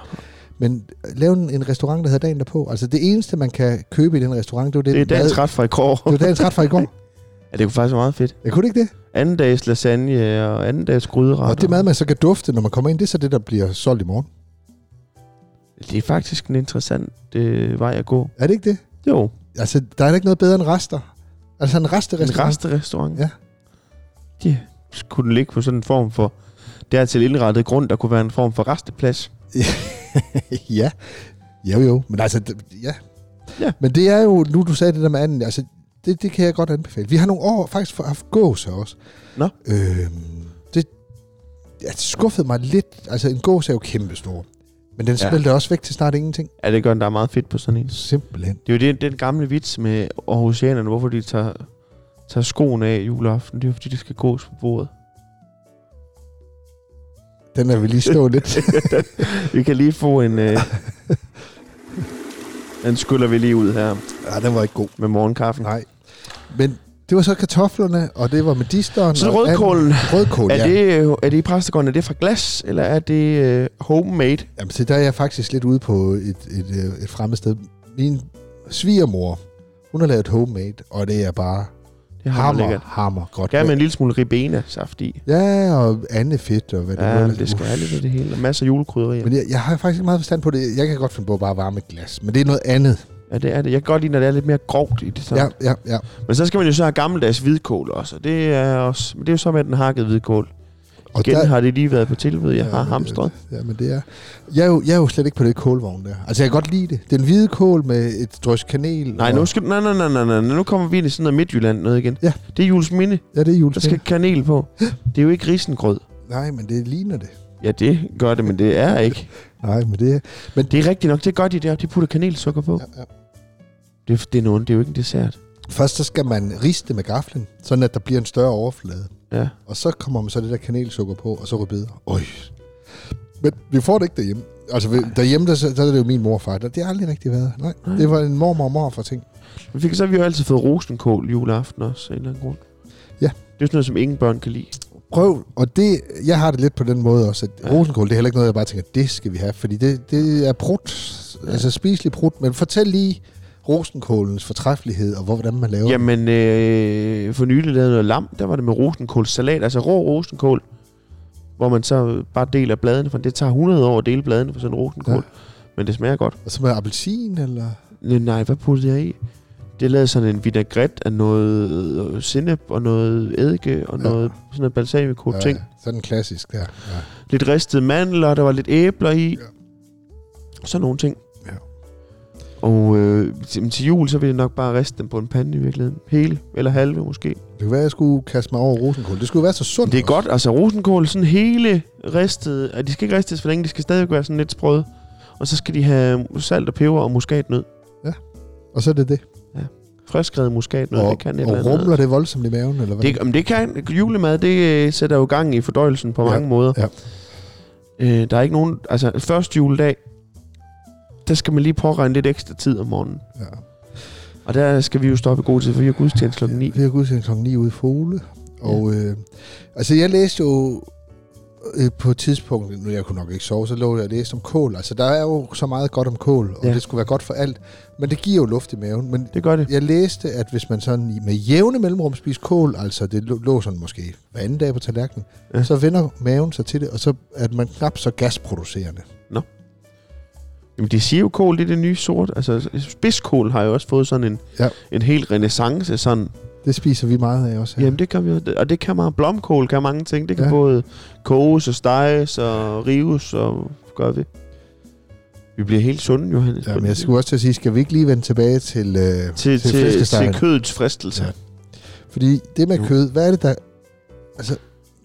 Speaker 2: Men lave en, en restaurant, der hedder dagen derpå. Altså det eneste, man kan købe i den restaurant, det var den
Speaker 1: Det er dagens
Speaker 2: mad-
Speaker 1: ret fra i går.
Speaker 2: Det var dagens ret fra i går.
Speaker 1: Ja, det kunne faktisk være meget fedt.
Speaker 2: Jeg kunne det ikke det?
Speaker 1: Anden dags lasagne og anden dags
Speaker 2: Og,
Speaker 1: gryderet.
Speaker 2: det mad, man så kan dufte, når man kommer ind, det er så det, der bliver solgt i morgen.
Speaker 1: Det er faktisk en interessant øh, vej at gå.
Speaker 2: Er det ikke det?
Speaker 1: Jo,
Speaker 2: Altså, der er da ikke noget bedre end rester. Altså en resterestaurant.
Speaker 1: en resterestaurant.
Speaker 2: Ja.
Speaker 1: Ja, så kunne den ligge på sådan en form for dertil indrettet grund, der kunne være en form for resteplads.
Speaker 2: ja. Jo, jo. Men altså, det- ja.
Speaker 1: Ja.
Speaker 2: Men det er jo, nu du sagde det der med anden, altså, det, det kan jeg godt anbefale. Vi har nogle år faktisk for- haft gås her også.
Speaker 1: Nå.
Speaker 2: Øhm, det, ja, det skuffede mig lidt. Altså, en gås er jo kæmpestor. Men den
Speaker 1: Ja.
Speaker 2: smelter også væk til snart ingenting.
Speaker 1: Ja, det gør den, der er meget fedt på sådan en.
Speaker 2: Simpelthen.
Speaker 1: Det er jo det, den gamle vits med Aarhusianerne, hvorfor de tager, tager skoene af juleaften. Det er jo, fordi de skal gås på bordet.
Speaker 2: Den er vi lige stå lidt.
Speaker 1: Vi kan lige få en... Øh, den skyller vi lige ud her
Speaker 2: Ja, den var ikke god.
Speaker 1: med morgenkaffen.
Speaker 2: Nej. Men det var så kartoflerne, og det var medisteren.
Speaker 1: Så
Speaker 2: og
Speaker 1: rødkålen.
Speaker 2: anden- Rødkål,
Speaker 1: Er
Speaker 2: ja.
Speaker 1: det, øh, er det i præstegården, er det fra glas, eller er det øh, homemade?
Speaker 2: Jamen, se, der er jeg faktisk lidt ude på et, et, øh, et fremmed sted. Min svigermor, hun har lavet homemade, og det er bare
Speaker 1: Det har man
Speaker 2: hammer,
Speaker 1: lækkert.
Speaker 2: hammer godt.
Speaker 1: Gerne med en lille smule ribena-saft i.
Speaker 2: Ja, og andet fedt, og hvad det
Speaker 1: Ja,
Speaker 2: er.
Speaker 1: men det skal være lidt af det hele. Og Masser af julekrydderier.
Speaker 2: Men jeg, jeg har faktisk ikke meget forstand på det. Jeg kan godt finde på at bare varme et glas, men det er noget andet.
Speaker 1: Ja, det er det. Jeg kan godt lide, når det er lidt mere grovt i det
Speaker 2: Ja,
Speaker 1: samme. Ja.
Speaker 2: ja, ja.
Speaker 1: Men så skal man jo så have gammeldags hvidkål også. Og det er også, men det er jo så med den hakkede hvidkål.
Speaker 2: Og
Speaker 1: Igen
Speaker 2: der-
Speaker 1: har det lige været på tilbud. Jeg
Speaker 2: Ja,
Speaker 1: har
Speaker 2: men det-
Speaker 1: hamstret.
Speaker 2: Ja, men det er... Jeg er, jo, jeg er jo slet ikke på det kålvogn der. Altså, jeg kan godt lide det. Den hvide kål med et drys kanel.
Speaker 1: Nej,
Speaker 2: og,
Speaker 1: nu skal, nej, nej, nej, nej, nej, nu kommer vi ind i sådan noget Midtjylland noget igen.
Speaker 2: Ja.
Speaker 1: Det er Jules Minde.
Speaker 2: Ja, det er
Speaker 1: Der
Speaker 2: juleskin.
Speaker 1: skal kanel på. Det er jo ikke risengrød.
Speaker 2: Nej, men det ligner det.
Speaker 1: Ja, det gør det, men det er ikke.
Speaker 2: Nej, men det er...
Speaker 1: Det er rigtigt nok. Det er godt, de der. De putter kanelsukker på. Ja.
Speaker 2: Ja, ja.
Speaker 1: Det, det, er nogen, det er jo ikke en dessert.
Speaker 2: Først så skal man riste det med gaflen, sådan at der bliver en større overflade.
Speaker 1: Ja.
Speaker 2: Og så kommer man så det der kanelsukker på, og så rødbeder. Øj. Men vi får det ikke derhjemme. Altså vi, derhjemme, der, der, er det jo min mor og far. Der, det har aldrig rigtig været. Nej,
Speaker 1: Nej.
Speaker 2: det var en mormor og mor for ting.
Speaker 1: Vi fik, så har vi jo altid fået rosenkål juleaften også, af en eller anden grund.
Speaker 2: Ja.
Speaker 1: Det er sådan noget, som ingen børn kan lide.
Speaker 2: Prøv, og det, jeg har det lidt på den måde også, at
Speaker 1: Ja.
Speaker 2: rosenkål, det er heller ikke noget, jeg bare tænker, det skal vi have, fordi det, det er brudt,
Speaker 1: Ja.
Speaker 2: altså spiselig brudt, men fortæl lige rosenkålens fortræffelighed, og hvor, hvordan man laver den.
Speaker 1: Jamen, øh, for nylig lavede noget lam, der var det med rosenkålsalat, altså rå rosenkål, hvor man så øh, bare deler bladene, for det tager 100 år at dele bladene for sådan en rosenkål.
Speaker 2: Ja.
Speaker 1: Ja. Men det smager godt.
Speaker 2: Og så med appelsin, eller?
Speaker 1: Nej, Nej, hvad puttede jeg i? Det lavede sådan en vinaigrette af noget øh, sennep og noget eddike og
Speaker 2: Ja.
Speaker 1: ja. noget sådan noget balsamico ting.
Speaker 2: Ja, sådan klassisk, der. Ja.
Speaker 1: Lidt ristede mandler, der var lidt æbler i.
Speaker 2: Ja.
Speaker 1: Ja. Sådan nogle ting.
Speaker 2: Ja.
Speaker 1: Og øh, til, til jul, så vil jeg nok bare riste dem på en pande i virkeligheden. Hele eller halve måske.
Speaker 2: Det kunne være, at jeg skulle kaste mig over rosenkål. Det skulle jo være så sundt.
Speaker 1: Det er
Speaker 2: også.
Speaker 1: godt, altså rosenkål, sådan hele ristet, og de skal ikke ristes for længe, de skal stadig være sådan lidt sprøde. Og så skal de have salt og peber og muskatnød.
Speaker 2: Og så er det det.
Speaker 1: Friskrevet muskatnød,
Speaker 2: og
Speaker 1: det kan et
Speaker 2: og
Speaker 1: eller andet.
Speaker 2: rumler det voldsomt i maven, eller hvad?
Speaker 1: Det, men det kan, julemad, det øh, sætter jo gang i fordøjelsen på
Speaker 2: Ja,
Speaker 1: mange måder.
Speaker 2: ja.
Speaker 1: Øh, der er ikke nogen, altså første juledag, der skal man lige påregne lidt ekstra tid om morgenen.
Speaker 2: Ja.
Speaker 1: Og der skal vi jo stoppe i god tid, for vi har gudstjeneste klokken 9.
Speaker 2: Vi har gudstjeneste klokken 9 ude i Fole. Og øh, altså, jeg læste jo øh, på et tidspunkt, nu jeg kunne nok ikke sove, så lå jeg og læste om kål. Altså, der er jo så meget godt om kål, og ja.
Speaker 1: Ja.
Speaker 2: det skulle være godt for alt. Men det giver jo luft i maven. Men
Speaker 1: Det gør det.
Speaker 2: jeg læste, at hvis man sådan i- med jævne mellemrum spiser kål, altså det lå- lå sådan måske hver anden dag på tallerkenen, ja.
Speaker 1: Ja.
Speaker 2: så vender maven sig til det, og så er man knap så gasproducerende.
Speaker 1: Jamen, det siger jo kål, det er det nye sort. Altså, spidskål har jo også fået sådan en,
Speaker 2: Ja.
Speaker 1: ja. en hel renaissance. Sådan.
Speaker 2: Det spiser vi meget af også her.
Speaker 1: Jamen, det kan vi jo- Og det kan meget. Blomkål kan mange ting. Det kan
Speaker 2: Ja.
Speaker 1: ja. både koges og steges og rives og gør vi. Vi bliver helt sunde, Johannes.
Speaker 2: Ja, men jeg skulle også til at sige, skal vi ikke lige vende tilbage til, øh,
Speaker 1: til, til, til,
Speaker 2: flæskestegen?
Speaker 1: til kødets fristelse.
Speaker 2: Ja. Fordi det med
Speaker 1: Jo.
Speaker 2: kød, hvad er det, der, altså,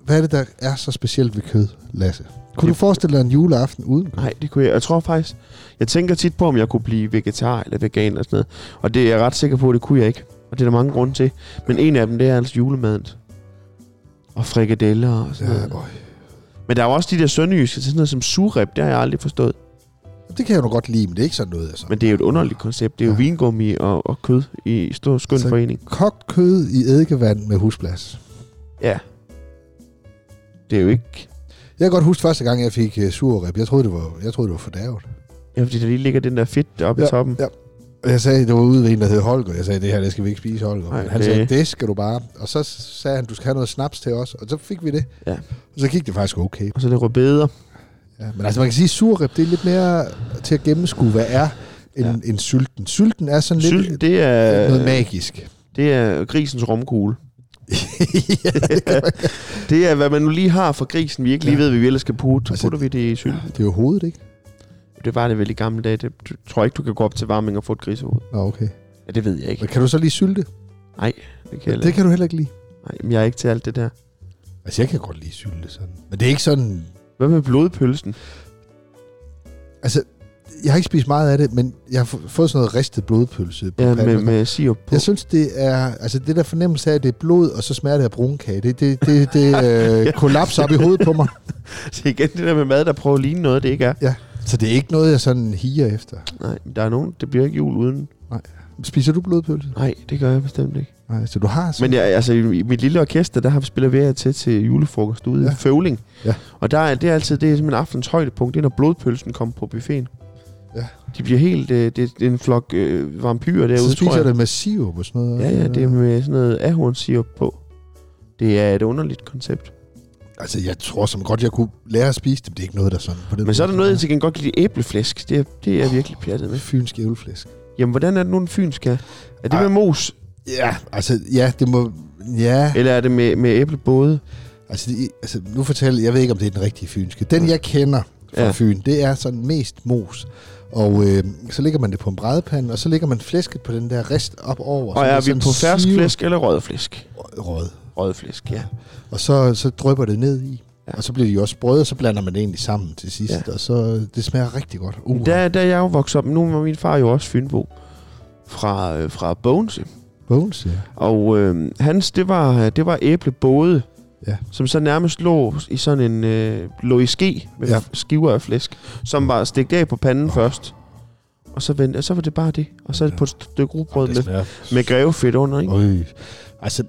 Speaker 2: hvad er det, der er så specielt ved kød, Lasse? Kunne du
Speaker 1: Det-
Speaker 2: forestille dig en juleaften uden kød?
Speaker 1: Nej, det kunne jeg. Jeg tror faktisk, jeg tænker tit på, om jeg kunne blive vegetar eller vegan eller sådan noget. Og det er jeg ret sikker på, det kunne jeg ikke. Og det er der mange grunde til. Men en af dem, det er altså julemaden. Og frikadeller og sådan ja. noget.
Speaker 2: Ja, øj.
Speaker 1: Men der er jo også de der sønderjyske, sådan noget som surrep, det har jeg aldrig forstået.
Speaker 2: Det kan jeg jo godt lide, men det er ikke sådan noget, altså.
Speaker 1: Men det er jo et underligt koncept. Det er jo ja.
Speaker 2: Ja.
Speaker 1: vingummi og, og kød i stor skøn
Speaker 2: Så-
Speaker 1: forening.
Speaker 2: Kogt kød i eddikevand med husblas.
Speaker 1: Ja. Det er jo ikke...
Speaker 2: Jeg kan godt huske første gang, jeg fik uh, surrep. Jeg troede, det var, jeg troede, det var fordærvet.
Speaker 1: Ja, fordi der lige ligger den der fedt deroppe ja. i toppen.
Speaker 2: Ja. Og jeg sagde, det var ude ved en, der hed Holger. Jeg sagde, det her, det skal vi ikke spise, Holger.
Speaker 1: Nej,
Speaker 2: Nej, han
Speaker 1: det-
Speaker 2: det... sagde, det skal du bare. Og så sagde han, du skal have noget snaps til os. Og så fik vi det.
Speaker 1: Ja.
Speaker 2: Og så gik det faktisk okay.
Speaker 1: Og så lidt rødbeder.
Speaker 2: Ja, men altså, man kan sige, at surrep, det er lidt mere til at gennemskue, hvad er en,
Speaker 1: Ja.
Speaker 2: ja. en sylten. Sylten er sådan lidt
Speaker 1: Sylten, det
Speaker 2: øh, noget
Speaker 1: er,
Speaker 2: magisk.
Speaker 1: det er grisens romkugle.
Speaker 2: ja,
Speaker 1: Det er, hvad man nu lige har fra grisen, vi ikke lige
Speaker 2: Ja.
Speaker 1: ved, hvad vi ellers skal putte. Så
Speaker 2: Altså-
Speaker 1: putter vi det i syl.
Speaker 2: det er jo hovedet, ikke?
Speaker 1: Det var det vel i gamle dage. Det, du, tror ikke, du kan gå op til varming og få et grisehoved.
Speaker 2: Nå, okay.
Speaker 1: Ja, det ved jeg ikke.
Speaker 2: Men kan du så lige sylte?
Speaker 1: Det kan jeg,
Speaker 2: Det
Speaker 1: det...
Speaker 2: kan du heller ikke lide.
Speaker 1: Nej, men jeg er ikke til alt det der.
Speaker 2: Altså, jeg kan godt lide sylte sådan. Men det er ikke sådan...
Speaker 1: Hvad med blodpølsen?
Speaker 2: Altså, jeg har ikke spist meget af det, men jeg har få- fået sådan noget ristet blodpølse. På
Speaker 1: Ja,
Speaker 2: panden
Speaker 1: med,
Speaker 2: og sådan
Speaker 1: med sirup på.
Speaker 2: Jeg synes, det er... Altså, det der fornemmelse af, at det er blod, og så smager det af brunkage, det, det, det, det øh, kollapser op i hovedet på mig.
Speaker 1: Det er igen det der med mad, der prøver at ligne noget, det ikke er.
Speaker 2: Så det er ikke noget, jeg sådan higer efter.
Speaker 1: Nej, men der er nogen, det bliver ikke jul uden.
Speaker 2: Spiser du blodpølse?
Speaker 1: Nej, det gør jeg bestemt ikke.
Speaker 2: Nej, så du har...
Speaker 1: Men jeg, altså, i mit lille orkester, der har vi spiller ved til til julefrokost ude ja. i
Speaker 2: Ja.
Speaker 1: Føvling.
Speaker 2: Ja.
Speaker 1: Og der er, det er altid det er simpelthen aftens højdepunkt, det er, når blodpølsen kommer på buffeten.
Speaker 2: Ja.
Speaker 1: De bliver helt, øh, det, det er en flok øh, vampyrer derude,
Speaker 2: så
Speaker 1: tror
Speaker 2: spiser
Speaker 1: jeg.
Speaker 2: det med sirup og sådan noget.
Speaker 1: Ja, ja, det er med sådan noget ahornsirup på. Det er et underligt koncept.
Speaker 2: Altså, jeg tror som godt, jeg kunne lære at spise det, men det er ikke noget, der sådan... På den
Speaker 1: Men så er der
Speaker 2: måde-
Speaker 1: noget, jeg til gengæld godt kan lide æbleflæsk. Det er, det er jeg virkelig pjattet med.
Speaker 2: Fynsk ævleflæsk.
Speaker 1: Jamen, hvordan er det nu, en fyn skal? Er det med
Speaker 2: Ej.
Speaker 1: mos,
Speaker 2: Ja, altså, ja, det må... Ja,
Speaker 1: eller er det med, med æblebåde?
Speaker 2: altså, det, altså, nu fortæller jeg ved ikke, om det er den rigtige fynske. Den, jeg kender fra
Speaker 1: Ja.
Speaker 2: ja. Fyn, det er sådan mest mos. Og øh, så lægger man det på en brædepande, og så lægger man flæsket på den der rest op over.
Speaker 1: Og
Speaker 2: så
Speaker 1: er
Speaker 2: det
Speaker 1: vi
Speaker 2: sådan
Speaker 1: på fersk
Speaker 2: siver-
Speaker 1: flæsk eller røget flæsk?
Speaker 2: Rød.
Speaker 1: Røget flæsk, ja.
Speaker 2: Og så, så drøber det ned i.
Speaker 1: Ja.
Speaker 2: Ja. Og så bliver de jo også sprøde, og så blander man det egentlig sammen til sidst.
Speaker 1: Ja.
Speaker 2: Ja. Og så det smager rigtig godt.
Speaker 1: Men
Speaker 2: Uh,
Speaker 1: Da, da jeg jo voksede op, nu var min far jo også Fynbo fra, øh, fra Bones.
Speaker 2: Bones, ja.
Speaker 1: Og øh, hans, det var, det var æblebåde,
Speaker 2: Ja.
Speaker 1: som så nærmest lå i sådan en øh, lå i ske med ja.
Speaker 2: Ja.
Speaker 1: skiver af flæsk, som var stegt af på panden oh. først. Og så, vent, og så var det bare det. Og så
Speaker 2: Ja.
Speaker 1: på et stykke rugbrød med,
Speaker 2: smager
Speaker 1: med grevefedt under, ikke?
Speaker 2: Øj. Altså,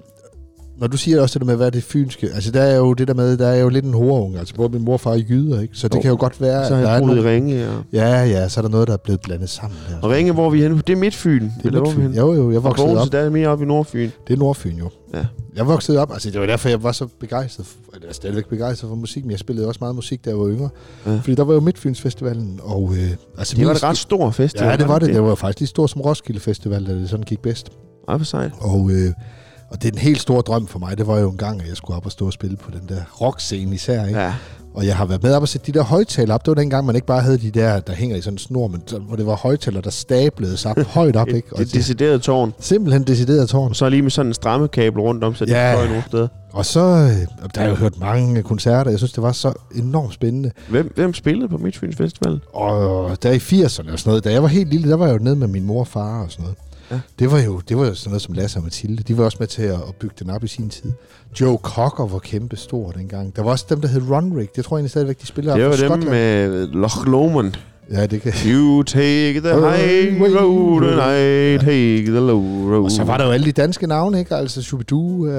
Speaker 2: når du siger også det der med, hvad er det fynske, altså der er jo det der med, der er jo lidt en horunge, altså både min mor og far er jyder, ikke? Så det
Speaker 1: Jo.
Speaker 2: jo. kan jo godt være,
Speaker 1: Så har
Speaker 2: der
Speaker 1: jeg
Speaker 2: er
Speaker 1: boet i
Speaker 2: nogle...
Speaker 1: Ringe. Og,
Speaker 2: Ja, ja, så er der noget, der er blevet blandet sammen der.
Speaker 1: og Ringe, hvor er vi henne? Det er Midtfyn.
Speaker 2: det
Speaker 1: hvor
Speaker 2: er
Speaker 1: er vi
Speaker 2: Midtfyn.
Speaker 1: henne?
Speaker 2: Jo, jo, jeg
Speaker 1: Og
Speaker 2: voksede op.
Speaker 1: Bogense, der er mere oppe i Nordfyn.
Speaker 2: Det er Nordfyn jo.
Speaker 1: Ja.
Speaker 2: Jeg voksede op, altså det var derfor, jeg var så begejstret, for- eller jeg er stadigvæk begejstret for musik, men jeg spillede også meget musik, da jeg var yngre.
Speaker 1: Ja.
Speaker 2: Ja. Fordi der var jo Midtfynsfestivalen, og... Øh, altså,
Speaker 1: Det var
Speaker 2: mest-
Speaker 1: et ret stor festival.
Speaker 2: Ja, det var det. Det var faktisk lige stort som Roskilde Festival, da det sådan gik bedst.
Speaker 1: Ej, hvor sejt.
Speaker 2: Og, øh, og det er en helt stor drøm for mig. Det var jo en gang, at jeg skulle op og stå og spille på den der rockscene især. Ikke? Ja.
Speaker 1: Ja.
Speaker 2: Og jeg har været med op og sætte de der højtaler op. Det var dengang, man ikke bare havde de der, der hænger i sådan en snor, men så- hvor det var højtaler, der stablede sig op, højt op.
Speaker 1: Et,
Speaker 2: Ikke? Og
Speaker 1: et
Speaker 2: det,
Speaker 1: decideret tårn.
Speaker 2: simpelthen decideret tårn.
Speaker 1: Og så lige med sådan en strammekabel rundt om, så det
Speaker 2: Ja.
Speaker 1: yeah. ikke nogle steder.
Speaker 2: Og så, øh, og der har jeg jo hørt mange koncerter. Jeg synes, det var så enormt spændende.
Speaker 1: Hvem, hvem spillede på Midtfyns Festival?
Speaker 2: Og der i 80'erne og sådan noget, da jeg var helt lille, der var jeg jo nede med min mor og far og sådan noget.
Speaker 1: Ja.
Speaker 2: Ja. Det, var jo, det var jo sådan noget som Lasse og Mathilde. De var også med til at, at bygge den op i sin tid. Joe Cocker var kæmpe stor dengang. Der var også dem, der hed Ron Rick. Det tror jeg egentlig stadigvæk, de spiller
Speaker 1: det
Speaker 2: op
Speaker 1: var
Speaker 2: fra
Speaker 1: dem
Speaker 2: Skotland.
Speaker 1: med Loch Lomond.
Speaker 2: Ja, det kan...
Speaker 1: You take
Speaker 2: Øh,
Speaker 1: the high road, and I take the low road.
Speaker 2: Og så var der jo alle de danske navne, ikke? Altså Shubidu og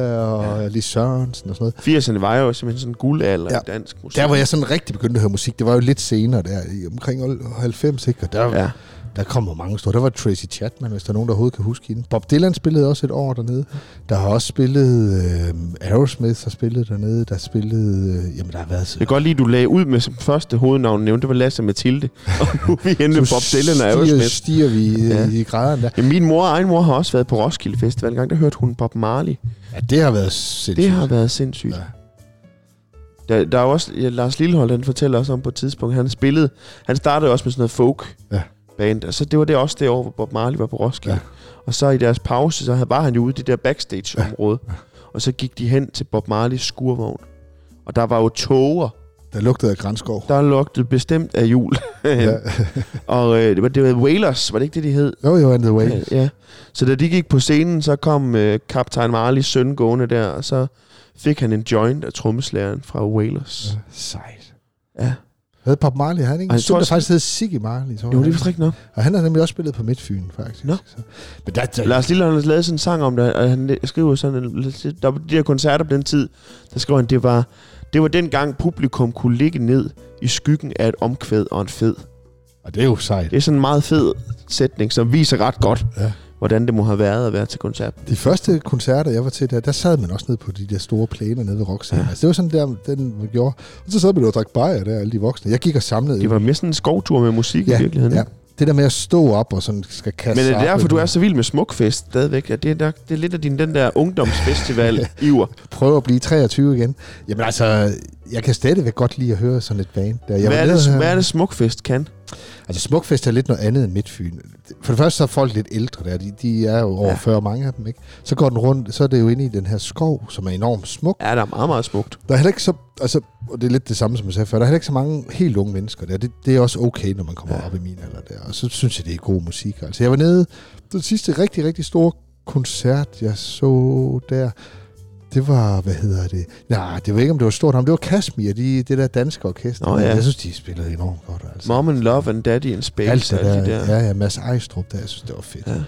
Speaker 1: Ja.
Speaker 2: ja. Lis Sørensen og sådan noget.
Speaker 1: 80'erne var jo simpelthen sådan en guldalder ja.
Speaker 2: Ja.
Speaker 1: i dansk musik.
Speaker 2: Der, hvor jeg sådan rigtig begyndte at høre musik, det var jo lidt senere der, i omkring 90, ikke? Og der, ja.
Speaker 1: Ja.
Speaker 2: Der kommer mange store. Der var Tracy Chapman, hvis der er nogen, der overhovedet kan huske hende. Bob Dylan spillede også et år dernede. Der har også spillet øh, Aerosmith, har spillet dernede. Der spillede... Øh, jamen, der har været...
Speaker 1: Jeg kan godt lide, at du lagde ud med som første hovednavn nævnte, det var Lasse og Mathilde. Og nu er vi henne med Bob Dylan og
Speaker 2: stiger,
Speaker 1: Aerosmith.
Speaker 2: stiger vi
Speaker 1: Ja.
Speaker 2: ja. i graderne der.
Speaker 1: Ja, min mor og egen mor har også været på Roskilde Festival en gang. Der hørte hun Bob Marley.
Speaker 2: Ja, det har været
Speaker 1: Det
Speaker 2: sindssygt.
Speaker 1: har været sindssygt. Ja.
Speaker 2: Ja.
Speaker 1: Der, der er jo også, ja, Lars Lillehold, han fortæller også om på et tidspunkt, han spillede, han startede også med sådan noget folk
Speaker 2: Ja.
Speaker 1: band, og så det var det også det år, hvor Bob Marley var på Roskilde. Ja.
Speaker 2: Ja.
Speaker 1: Og så i deres pause, så havde- var han jo ude i det der backstage-område, ja. og så gik de hen til Bob Marleys skurvogn. Og der var jo tåger,
Speaker 2: Der lugtede af grænskov.
Speaker 1: der lugtede bestemt af jul.
Speaker 2: Ja.
Speaker 1: Ja. og øh, det, var, det var Whalers, var det ikke det, de hed?
Speaker 2: Jo, jo, and the way.
Speaker 1: Ja, ja. Så da de gik på scenen, så kom øh, kaptajn Marleys søn gående der, og så fik han en joint af trommeslæren fra Whalers.
Speaker 2: Sejt.
Speaker 1: Ja.
Speaker 2: Havde Pop Marley, havde han ikke?
Speaker 1: Ej,
Speaker 2: En
Speaker 1: jeg tror
Speaker 2: stund, der
Speaker 1: også-
Speaker 2: faktisk hed Siggy Marley, tror
Speaker 1: Jo,
Speaker 2: jeg.
Speaker 1: det er vist rigtigt nok.
Speaker 2: Og han har nemlig også spillet på Midtfyn, faktisk.
Speaker 1: Nå.
Speaker 2: Så. Men der, der,
Speaker 1: Lars Lille har lavet sådan en sang om det, og han skriver sådan, en, der var de der koncerter på den tid, der skriver han, det var, det var dengang publikum kunne ligge ned i skyggen af et omkvæd og en fed.
Speaker 2: og det er jo sejt.
Speaker 1: Det er sådan en meget fed sætning, som viser ret godt,
Speaker 2: Ja.
Speaker 1: hvordan det må have været at være til koncert.
Speaker 2: De første koncerter, jeg var til, der, der sad man også nede på de der store planer nede ved Roxanne. Ja. Altså, det var sådan der, den man gjorde. Og så sad man jo og drak bajer der, alle de voksne. Jeg gik og samlede.
Speaker 1: Det var mere sådan en skovtur med musik ja, i virkeligheden.
Speaker 2: ja. Det der med at stå op og sådan skal kaste
Speaker 1: Men
Speaker 2: sig
Speaker 1: er det
Speaker 2: op
Speaker 1: derfor,
Speaker 2: med
Speaker 1: du
Speaker 2: den-
Speaker 1: er så vild med smukfest stadigvæk? Ja, det, er nok, det er lidt af din, den der ungdomsfestival-iver.
Speaker 2: prøve at blive 23 igen. Jamen altså, jeg kan stadigvæk godt lide at høre sådan et band. Der. Jeg
Speaker 1: Hvad
Speaker 2: var
Speaker 1: er,
Speaker 2: nede
Speaker 1: det,
Speaker 2: og høre-
Speaker 1: hvad er det, smukfest kan?
Speaker 2: Altså, Smukfest er lidt noget andet end Midtfyn. For det første så er folk lidt ældre der. De, de er jo over
Speaker 1: Ja.
Speaker 2: ja. 40, mange af dem, ikke? Så går den rundt, så er det jo inde i den her skov, som er enormt smuk.
Speaker 1: Ja, der er meget, meget smukt.
Speaker 2: Der er heller ikke så... Altså, og det er lidt det samme, som jeg sagde før. Der er heller ikke så mange helt unge mennesker der. Det, det er også okay, når man kommer ja. op i min alder der. Og så synes jeg, det er god musik. Altså, jeg var nede... Den sidste rigtig, rigtig store koncert, jeg så der... Det var, hvad hedder det? Nej, det var ikke, om det var stort. ham. Det var Kasmir, de, det der danske orkester.
Speaker 1: Nå ja.
Speaker 2: Jeg synes, de spillede enormt godt. Altså.
Speaker 1: Mom and Love and Daddy in Space.
Speaker 2: Alt det
Speaker 1: og alle
Speaker 2: der,
Speaker 1: de
Speaker 2: der. Ja, ja, Mads Ejstrup der, jeg synes, det var fedt.
Speaker 1: Ja.
Speaker 2: Ja.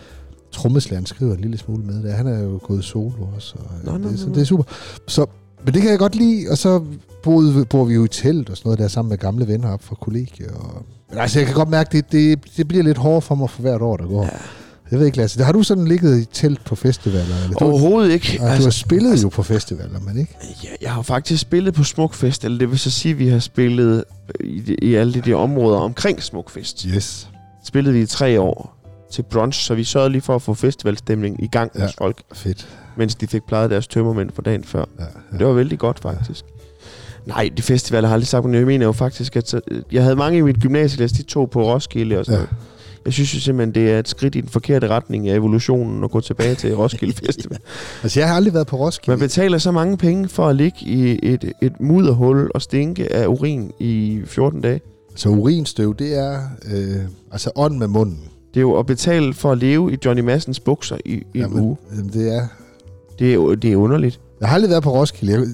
Speaker 2: Trommeslæren skriver en lille smule med det. Han er jo gået solo også, og
Speaker 1: Nå,
Speaker 2: nå,
Speaker 1: nå,
Speaker 2: det, så
Speaker 1: nå, nå.
Speaker 2: det er super. Så, men det kan jeg godt lide, og så boede, bor vi jo i telt og sådan noget der, sammen med gamle venner op fra kollegiet. Og... Men altså, jeg kan godt mærke, det, det, det bliver lidt hårdere for mig for hvert år, der går.
Speaker 1: Ja.
Speaker 2: Ja. Jeg ved ikke, Lasse, har du sådan ligget i telt på festivaler? Eller? Du,
Speaker 1: Overhovedet ikke.
Speaker 2: altså, du har spillet altså, jo på festivaler, men ikke?
Speaker 1: Ja, jeg har faktisk spillet på Smukfest, eller det vil så sige, at vi har spillet øh, i, de- i alle de der områder omkring Smukfest.
Speaker 2: Yes.
Speaker 1: Spillede vi i tre år til brunch, så vi sørgede lige for at få festivalstemning i gang ja.
Speaker 2: Ja.
Speaker 1: hos folk,
Speaker 2: Fedt.
Speaker 1: mens de fik plejet deres tømmermænd for dagen før.
Speaker 2: Ja,
Speaker 1: Ja.
Speaker 2: ja.
Speaker 1: Det var vældig godt, faktisk. Nej, de festivaler har jeg aldrig sagt, men jeg mener jo faktisk, at så- øh, jeg havde mange i mit gymnasielæs, de tog på Roskilde og sådan
Speaker 2: Ja.
Speaker 1: ja. Jeg synes jo simpelthen, det er et skridt i den forkerte retning af evolutionen at gå tilbage til Roskilde Festival.
Speaker 2: Altså, jeg har aldrig været på Roskilde.
Speaker 1: Man betaler så mange penge for at ligge i et, et mudderhul og stinke af urin i 14 dage.
Speaker 2: Så urinstøv, det er øh, altså ånd med munden.
Speaker 1: Det er jo at betale for at leve i Johnny Massens bukser i, i en
Speaker 2: Jamen,
Speaker 1: uge.
Speaker 2: Jamen, det er...
Speaker 1: Det er, jo- det er underligt.
Speaker 2: Jeg har aldrig været på Roskilde. Jeg,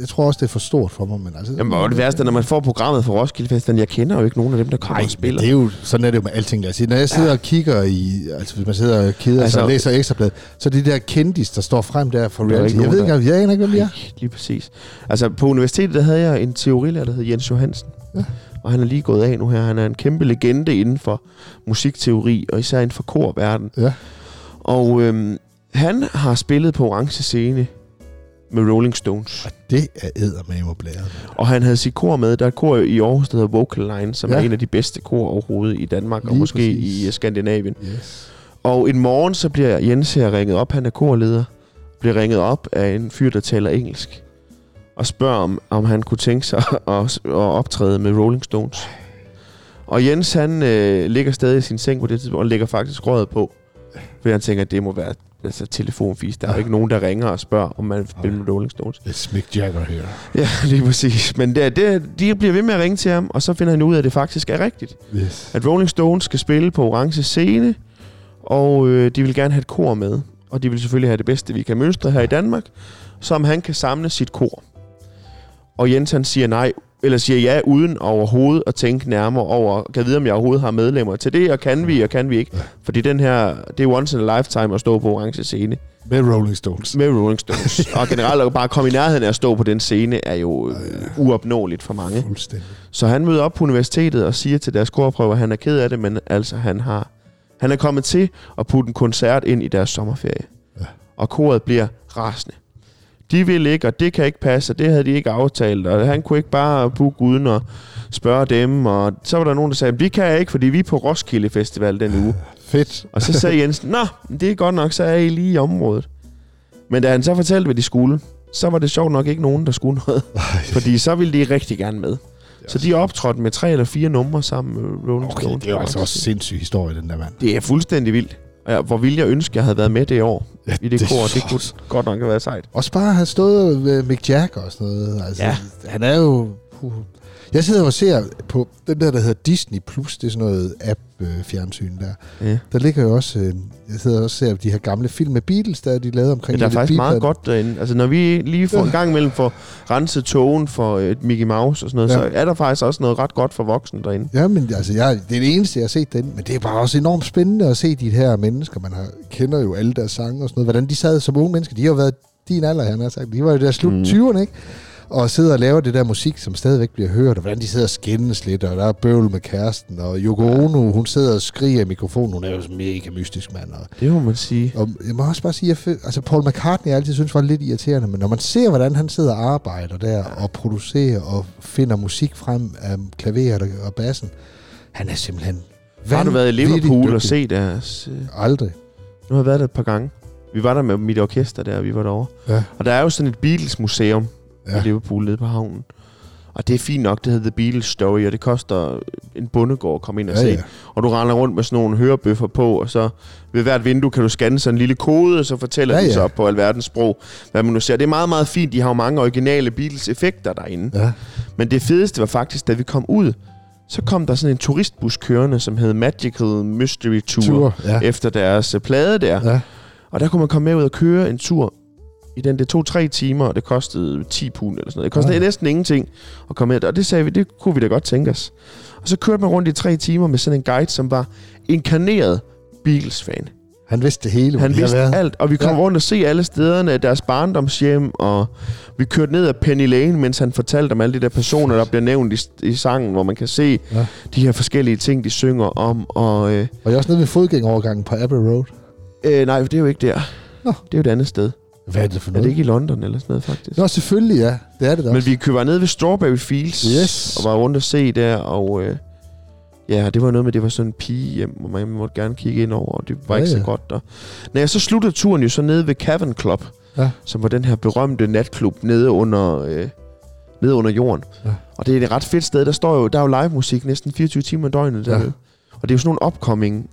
Speaker 2: jeg tror også, det er for stort for mig, men altså...
Speaker 1: Jamen, og det værste, er, når man får programmet for Roskilde Festival, jeg kender jo ikke nogen af dem, der kommer
Speaker 2: Nej,
Speaker 1: og spiller.
Speaker 2: det er jo, sådan er det jo med alting, jeg siger. Når jeg sidder og kigger i, altså hvis man sidder og keder altså,
Speaker 1: Altså-
Speaker 2: sig og læser ekstrabladet, så er det de der kendis, der står frem der for
Speaker 1: Der er
Speaker 2: reality.
Speaker 1: ikke
Speaker 2: Jeg ved
Speaker 1: nogen,
Speaker 2: ikke, jeg aner ikke, hvem de
Speaker 1: Ja.
Speaker 2: er.
Speaker 1: Lige præcis. Altså, på universitetet, der havde jeg en teorilærer, der hed Jens Johansen. Ja.
Speaker 2: Ja.
Speaker 1: Og han er lige gået af nu her. Han er en kæmpe legende inden for musikteori, og især inden for korverden.
Speaker 2: Ja.
Speaker 1: Og øhm, han har spillet på orange scene med Rolling Stones.
Speaker 2: Og det er eddermame og blæret. mand.
Speaker 1: Og han havde sit kor med. Der er et kor i Aarhus, der hedder Vocal Line, som ja.
Speaker 2: Ja.
Speaker 1: er en af de bedste kor overhovedet i Danmark, og
Speaker 2: Lige
Speaker 1: måske
Speaker 2: præcis.
Speaker 1: i øh, Skandinavien.
Speaker 2: Yes.
Speaker 1: Og en morgen, så bliver Jens her ringet op. Han er korleder. Bliver ringet op af en fyr, der taler engelsk. Og spørger, om, om han kunne tænke sig at, at optræde med Rolling Stones. Og Jens, han øh, ligger stadig i sin seng på det tidspunkt, og lægger faktisk røret på. Fordi han tænker, at det må være altså, telefonfis. Der er jo ikke nogen, der ringer og spørger, om man vil spille med Rolling Stones.
Speaker 2: It's Mick Jagger her.
Speaker 1: Ja, lige præcis. Men det, er- det, de bliver ved med at ringe til ham, og så finder han ud af, at det faktisk er rigtigt.
Speaker 2: Yes.
Speaker 1: At Rolling Stones skal spille på orange scene, og øh, de vil gerne have et kor med. Og de vil selvfølgelig have det bedste, vi kan mønstre her i Danmark, som han kan samle sit kor. Og Jens han siger nej, eller siger ja, uden overhovedet at tænke nærmere over, kan vide, om jeg overhovedet har medlemmer til det, og kan vi, og kan vi ikke. Fordi den her, det er once in a lifetime at stå på orange scene
Speaker 2: Med Rolling Stones.
Speaker 1: med Rolling Stones. og generelt at bare komme i nærheden af at stå på den scene, er jo øh, uopnåeligt for mange.
Speaker 2: Fuldstændig.
Speaker 1: Så han møder op på universitetet og siger til deres korprøver, at han er ked af det, men altså han har han er kommet til at putte en koncert ind i deres sommerferie. Ja.
Speaker 2: Ja.
Speaker 1: Og koret bliver rasende. De vil ikke, og det kan ikke passe, og det havde de ikke aftalt, og han kunne ikke bare booke uden at spørge dem, og så var der nogen, der sagde, vi kan ikke, fordi vi er på Roskilde Festival den uge.
Speaker 2: Fedt.
Speaker 1: Og så sagde Jensen, nå, men det er godt nok, så er I lige i området. Men da han så fortalte, hvad de skulle, så var det sjovt nok ikke nogen, der skulle noget. Fordi så ville de rigtig gerne med. Så de optrådte med tre eller fire numre sammen med Rolling
Speaker 2: Okay,
Speaker 1: Stones.
Speaker 2: det er jo altså også sindssyg historie, den der mand.
Speaker 1: Det er fuldstændig vildt. Og jeg- Hvor ville jeg ønske, jeg havde været med det år ja,
Speaker 2: Ja,
Speaker 1: i det, det
Speaker 2: det-
Speaker 1: kor. Det kunne godt nok have været sejt.
Speaker 2: Også bare at have stået med Mick Jagger og sådan noget. Altså,
Speaker 1: Ja.
Speaker 2: ja. Han er jo... Puh. Jeg sidder og ser på den der, der hedder Disney+. Plus. Det er sådan noget app-fjernsyn der.
Speaker 1: Ja.
Speaker 2: Der ligger jo også... Øh, jeg sidder også og ser de her gamle film med Beatles, der de lavede
Speaker 1: Men
Speaker 2: omkring...
Speaker 1: der er
Speaker 2: Little
Speaker 1: faktisk
Speaker 2: Big
Speaker 1: meget
Speaker 2: Band.
Speaker 1: godt derinde. Altså, når vi lige får en gang imellem får renset togen for øh, et Mickey Mouse og sådan noget,
Speaker 2: Ja.
Speaker 1: ja. så er der faktisk også noget ret godt for voksne derinde.
Speaker 2: Ja, men altså, jeg, det er det eneste, jeg har set den, men det er bare også enormt spændende at se de her mennesker. Man har, kender jo alle deres sange og sådan noget. Hvordan de sad som unge mennesker. De har jo været din alder, han har sagt. De var jo der slut
Speaker 1: Mm.
Speaker 2: 20'erne, ikke? Og sidder og laver det der musik, som stadigvæk bliver hørt, og hvordan de sidder og skændes lidt, og der er bøvl med kæresten, og Yoko Ono, hun sidder og skriger i mikrofonen, hun er jo sådan mega mystisk mand, og
Speaker 1: Det må man sige.
Speaker 2: og jeg må også bare sige, at jeg fø- altså Paul McCartney, jeg altid synes var lidt irriterende, men når man ser, hvordan han sidder og arbejder der, og producerer og finder musik frem af klaveret og- og bassen, han er simpelthen
Speaker 1: Har du været i
Speaker 2: vanvittigt
Speaker 1: Liverpool og
Speaker 2: dygtig.
Speaker 1: set deres... øh,
Speaker 2: Aldrig.
Speaker 1: Nu har jeg været der et par gange. Vi var der med mit orkester der, og vi var derovre.
Speaker 2: Ja.
Speaker 1: Og der er jo sådan et Beatles-museum ja.
Speaker 2: Ja.
Speaker 1: i Liverpool nede på havnen. Og det er fint nok, det hedder The Beatles Story, og det koster en bondegård at komme ind og
Speaker 2: Ja,
Speaker 1: se.
Speaker 2: ja.
Speaker 1: Og du render rundt med sådan nogle hørebøffer på, og så ved hvert vindue kan du scanne sådan en lille kode, og så fortæller
Speaker 2: Ja,
Speaker 1: ja, ja.
Speaker 2: ja.
Speaker 1: de så på alverdens sprog, hvad man nu ser. Det er meget, meget fint. De har jo mange originale Beatles-effekter derinde.
Speaker 2: ja.
Speaker 1: Men det fedeste var faktisk, da vi kom ud, så kom der sådan en turistbus kørende, som hed Magical Mystery Tour, Tour.
Speaker 2: Tur. Ja.
Speaker 1: efter deres øh, plade der.
Speaker 2: ja.
Speaker 1: Og der kunne man komme med ud og køre en tur i den. Det tog tre timer, og det kostede 10 pund eller sådan noget. Det kostede
Speaker 2: Ja.
Speaker 1: ja. næsten ingenting at komme med. Og det sagde vi, det kunne vi da godt tænke os. Og så kørte man rundt i tre timer med sådan en guide, som var inkarneret Beatles-fan.
Speaker 2: Han vidste det hele. hvor
Speaker 1: Han
Speaker 2: de har
Speaker 1: vidste
Speaker 2: været.
Speaker 1: alt, og vi kom
Speaker 2: Ja.
Speaker 1: ja. rundt og se alle stederne, deres barndomshjem, og vi kørte ned ad Penny Lane, mens han fortalte om alle de der personer, der bliver nævnt i, i sangen, hvor man kan se
Speaker 2: Ja.
Speaker 1: ja. de her forskellige ting, de synger om, og... Øh,
Speaker 2: Og jeg er også nede ved fodgængerovergangen på Abbey Road.
Speaker 1: øh, nej, det er jo ikke der.
Speaker 2: Nå.
Speaker 1: Det er jo et andet sted.
Speaker 2: Hvad er det for
Speaker 1: Er
Speaker 2: noget?
Speaker 1: det ikke i London eller sådan noget, faktisk?
Speaker 2: Nå, selvfølgelig, ja. Det er det da.
Speaker 1: Men vi køber ned ved Strawberry Fields,
Speaker 2: Yes.
Speaker 1: og var rundt og se der, og øh, ja, det var noget med, det var sådan en pige hjem, hvor man måtte gerne kigge ind over, og det var
Speaker 2: Ja,
Speaker 1: ja, ikke så
Speaker 2: ja.
Speaker 1: godt der. Nej, så sluttede turen jo så nede ved Cavern Club,
Speaker 2: Ja.
Speaker 1: som var den her berømte natklub nede under, øh, nede under jorden.
Speaker 2: Ja.
Speaker 1: Ja. Og det er et ret fedt sted, der står jo, der er jo live musik næsten 24 timer i døgnet
Speaker 2: Ja.
Speaker 1: der. Ja. Og det er jo sådan nogle upcoming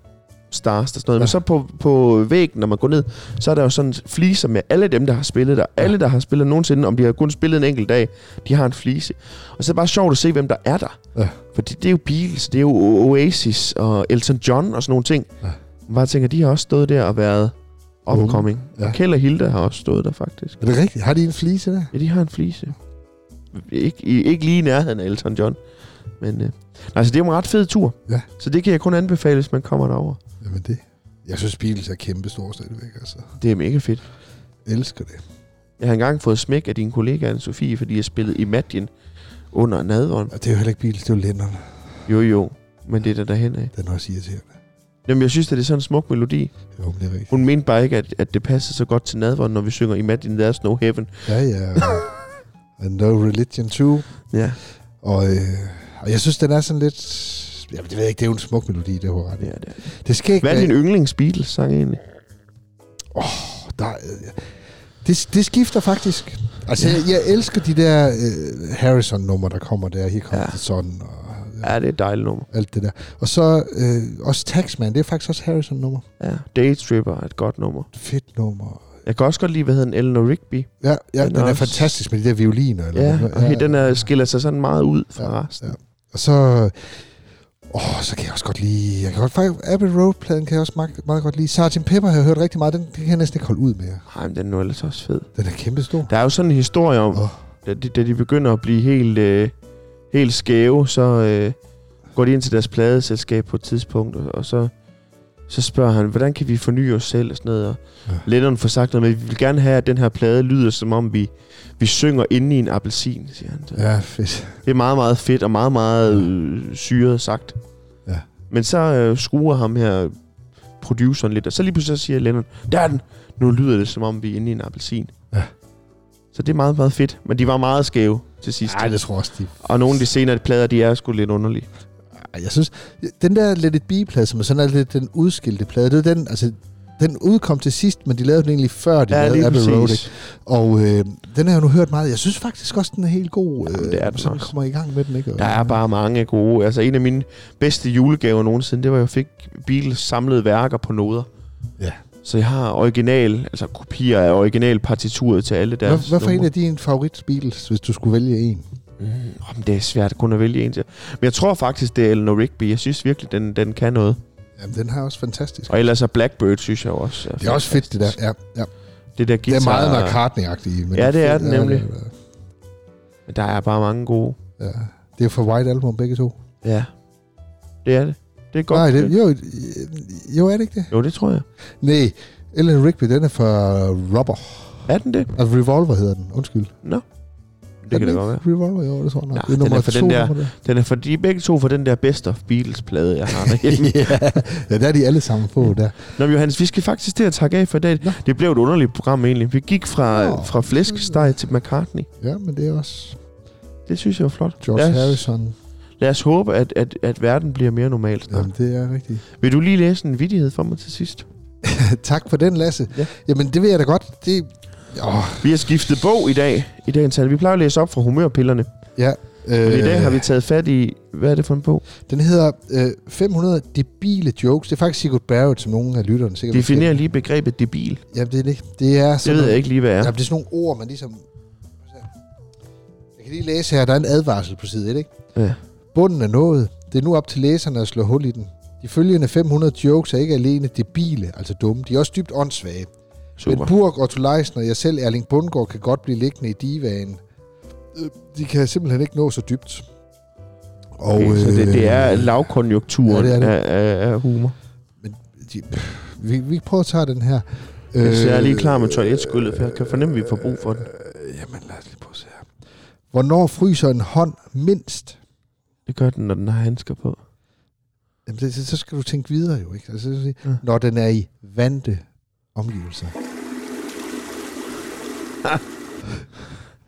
Speaker 1: stars og sådan noget.
Speaker 2: Ja.
Speaker 1: Men så på, på væggen, når man går ned, så er der jo sådan fliser med alle dem, der har spillet der. Alle, der har spillet nogensinde, om de har kun spillet en enkelt dag, de har en flise. Og så er det bare sjovt at se, hvem der er der.
Speaker 2: Ja.
Speaker 1: Fordi det er jo Beatles, det er jo O- Oasis og Elton John og sådan nogle ting.
Speaker 2: Ja.
Speaker 1: Man bare tænker, de har også stået der og været
Speaker 2: Unge.
Speaker 1: upcoming.
Speaker 2: Ja.
Speaker 1: Ja. Kjell og Hilda har også stået der faktisk.
Speaker 2: Er det rigtigt? Har de en flise der?
Speaker 1: Ja, de har en flise. Ikke, i- ikke lige i nærheden af Elton John. Men øh, altså, det er jo en ret fed tur.
Speaker 2: Ja.
Speaker 1: Så det kan jeg kun anbefale, hvis man kommer derover.
Speaker 2: Jamen det. Jeg synes, Beatles er kæmpestor stadigvæk, altså.
Speaker 1: Det er mega fedt.
Speaker 2: Elsker det.
Speaker 1: Jeg har engang fået smæk af din kollega, anne Sofie, fordi jeg spillede Imagine under nadvånd.
Speaker 2: Og det er jo heller ikke Beatles, det er jo Lennon.
Speaker 1: Jo, jo. Men det er der derhen af.
Speaker 2: Den er også irriterende.
Speaker 1: Jamen, jeg synes, at det er sådan en smuk melodi.
Speaker 2: Jo, men det er rigtigt.
Speaker 1: Hun mente bare ikke, at, at det passer så godt til nadvånd, når vi synger Imagine There's No Heaven.
Speaker 2: Ja, ja. And no religion too.
Speaker 1: Ja,
Speaker 2: Og, øh, og jeg synes, den er sådan lidt... Jamen, det ved jeg ikke, det er jo en smuk melodi, det har ret. i.
Speaker 1: det er det.
Speaker 2: Det skal ikke
Speaker 1: Hvad er
Speaker 2: være...
Speaker 1: din yndlings Beatles-sang egentlig?
Speaker 2: Der, øh, det, det skifter faktisk. Altså, ja. jeg, jeg elsker de der øh, Harrison-numre, der kommer der. Her kommer
Speaker 1: Ja.
Speaker 2: ja. sådan og ja.
Speaker 1: Ja, det er et dejligt nummer.
Speaker 2: alt det der. Og så øh, også Taxman, det er faktisk også Harrison-nummer.
Speaker 1: Ja. Daytripper er et godt nummer.
Speaker 2: Fedt nummer.
Speaker 1: Jeg kan også godt lide, hvad hedder den, Eleanor Rigby.
Speaker 2: Ja, ja den,
Speaker 1: Den er
Speaker 2: den er
Speaker 1: også-
Speaker 2: fantastisk med de der violiner. Eller
Speaker 1: Ja,
Speaker 2: hvad.
Speaker 1: og he- den er, skiller sig sådan meget ud fra
Speaker 2: Ja,
Speaker 1: ja, resten.
Speaker 2: ja. Og så... Åh, så kan jeg også godt lide... Jeg kan godt faktisk... Abbey Road-pladen kan jeg også meget, meget godt lide. Sgt. Pepper har jeg hørt rigtig meget. Den, den kan jeg næsten ikke holde ud mere.
Speaker 1: Ej, men den er nu ellers også fed.
Speaker 2: Den er kæmpestor.
Speaker 1: Der er jo sådan en historie om,
Speaker 2: Åh.
Speaker 1: oh. da, de, da de begynder at blive helt, øh, helt skæve, så øh, går de ind til deres pladeselskab på et tidspunkt, og, og så, så spørger han, hvordan kan vi forny os selv og sådan noget. Og
Speaker 2: Ja.
Speaker 1: ja. Lennon får sagt noget med, vi vil gerne have, at den her plade lyder, som om vi, vi synger inde i en appelsin, siger han. Så.
Speaker 2: Ja, fedt.
Speaker 1: Det er meget, meget fedt og meget, meget øh, syret sagt.
Speaker 2: Ja.
Speaker 1: Men så øh, skruer ham her produceren lidt, og så lige pludselig så siger Lennon, der er den! Nu lyder det, som om vi er inde i en appelsin.
Speaker 2: Ja.
Speaker 1: Så det er meget, meget fedt. Men de var meget skæve til sidst.
Speaker 2: Nej, det tror jeg også, de...
Speaker 1: Og nogle af de senere plader, de er sgu lidt underlige.
Speaker 2: Ej, jeg synes... Den der Let It Be-plade, som er sådan er lidt den udskilte plade, det er den... Altså, den udkom til sidst, men de lavede den egentlig før, de lavede Abbey Road. Ikke? Og øh, den har jeg nu hørt meget. Jeg synes faktisk også, den er helt god.
Speaker 1: Jamen, det er den
Speaker 2: så man
Speaker 1: også.
Speaker 2: kommer i gang med den, ikke? Og-
Speaker 1: Der er bare mange gode. Altså en af mine bedste julegaver nogensinde, det var, at jeg fik Beatles samlede værker på noder.
Speaker 2: Ja.
Speaker 1: Så jeg har original, altså kopier af original partituret til alle deres
Speaker 2: Hvad, hvorfor er en
Speaker 1: numre.
Speaker 2: af dine favorit Beatles, hvis du skulle vælge en?
Speaker 1: Mm, oh, men det er svært kun at vælge en til. Men jeg tror faktisk, det er Eleanor Rigby. Jeg synes virkelig, den, den kan noget.
Speaker 2: Jamen, den har også fantastisk.
Speaker 1: Og ellers er Blackbird, synes jeg også.
Speaker 2: Det er også fedt, det der. Ja, ja.
Speaker 1: Det der
Speaker 2: Det
Speaker 1: guitar.
Speaker 2: er meget McCartney-agtigt. men
Speaker 1: Ja, det er
Speaker 2: fedt.
Speaker 1: den
Speaker 2: Ja,
Speaker 1: nemlig.
Speaker 2: det er-
Speaker 1: Men der er bare mange gode.
Speaker 2: øh, Ja. Det er for White Album begge to.
Speaker 1: Ja. Det er det. Det er godt.
Speaker 2: Nej, det,
Speaker 1: spil.
Speaker 2: jo, jo, er det ikke det?
Speaker 1: jo, det tror jeg.
Speaker 2: Nej, Ellen Rigby, den er fra Rubber.
Speaker 1: Er den det?
Speaker 2: Altså Revolver hedder den, undskyld.
Speaker 1: Det kan det godt være.
Speaker 2: Revolver, jo, det tror jeg nok.
Speaker 1: Nej,
Speaker 2: det er
Speaker 1: den
Speaker 2: nummer
Speaker 1: er fra
Speaker 2: to,
Speaker 1: den der-
Speaker 2: nummer der.
Speaker 1: Den er for, de er begge to for den der Best of Beatles-plade, jeg har derhjemme.
Speaker 2: ja, der er de alle sammen på, der.
Speaker 1: Nå, men Johannes, vi skal faktisk til at takke af for i dag.
Speaker 2: Nå.
Speaker 1: Det blev et underligt program egentlig. Vi gik fra,
Speaker 2: Nå.
Speaker 1: fra flæskesteg til McCartney.
Speaker 2: Ja, men det er også
Speaker 1: Det synes jeg var flot.
Speaker 2: George
Speaker 1: Lad os-
Speaker 2: Harrison.
Speaker 1: Lad os håbe, at, at, at verden bliver mere normal snart.
Speaker 2: Jamen, det er rigtigt.
Speaker 1: Vil du lige læse en vidighed for mig til sidst?
Speaker 2: tak for den, Lasse.
Speaker 1: Ja.
Speaker 2: Ja. Jamen, det vil jeg da godt. Det, åh,
Speaker 1: Vi har skiftet bog i dag. I dagens tal. Vi plejer at læse op fra humørpillerne.
Speaker 2: ja,
Speaker 1: Men
Speaker 2: øh,
Speaker 1: i dag har vi taget fat i... Hvad er det for en bog?
Speaker 2: Den hedder øh, 500 debile jokes. Det er faktisk Sigurd Barrett, som nogen af lytterne sikkert...
Speaker 1: Definer lige begrebet debil.
Speaker 2: Ja, det er det. Det er
Speaker 1: Det
Speaker 2: sådan
Speaker 1: ved
Speaker 2: nogle-
Speaker 1: jeg ikke lige, hvad
Speaker 2: Ja.
Speaker 1: er.
Speaker 2: Jamen, det er sådan nogle ord, man ligesom... Jeg kan lige læse her, der er en advarsel på side 1, ikke?
Speaker 1: Ja.
Speaker 2: Bunden er nået. Det er nu op til læserne at slå hul i den. De følgende 500 jokes er ikke alene debile, altså dumme. De er også dybt åndssvage.
Speaker 1: Super.
Speaker 2: Men Burg, Otto Leisner og jeg selv, Erling Bundgaard, kan godt blive liggende i divaen. Øh, De kan simpelthen ikke nå så dybt. Og, øh,
Speaker 1: Okay, så det, det er
Speaker 2: ja,
Speaker 1: lavkonjunkturen
Speaker 2: det
Speaker 1: ja,
Speaker 2: er
Speaker 1: det
Speaker 2: det.
Speaker 1: Af, af, af humor.
Speaker 2: De, vi, vi prøver at tage den her.
Speaker 1: Øh, så jeg er lige klar med toiletskyllet, for jeg kan fornemme, at vi får brug for den.
Speaker 2: Øh, jamen, lad os lige prøve at se her. Hvornår fryser en hånd mindst?
Speaker 1: Det gør den, når den har handsker på.
Speaker 2: Jamen, det, så skal du tænke videre jo, ikke? Altså, så sige,
Speaker 1: Ja.
Speaker 2: ja. Når den er i vante omgivelser.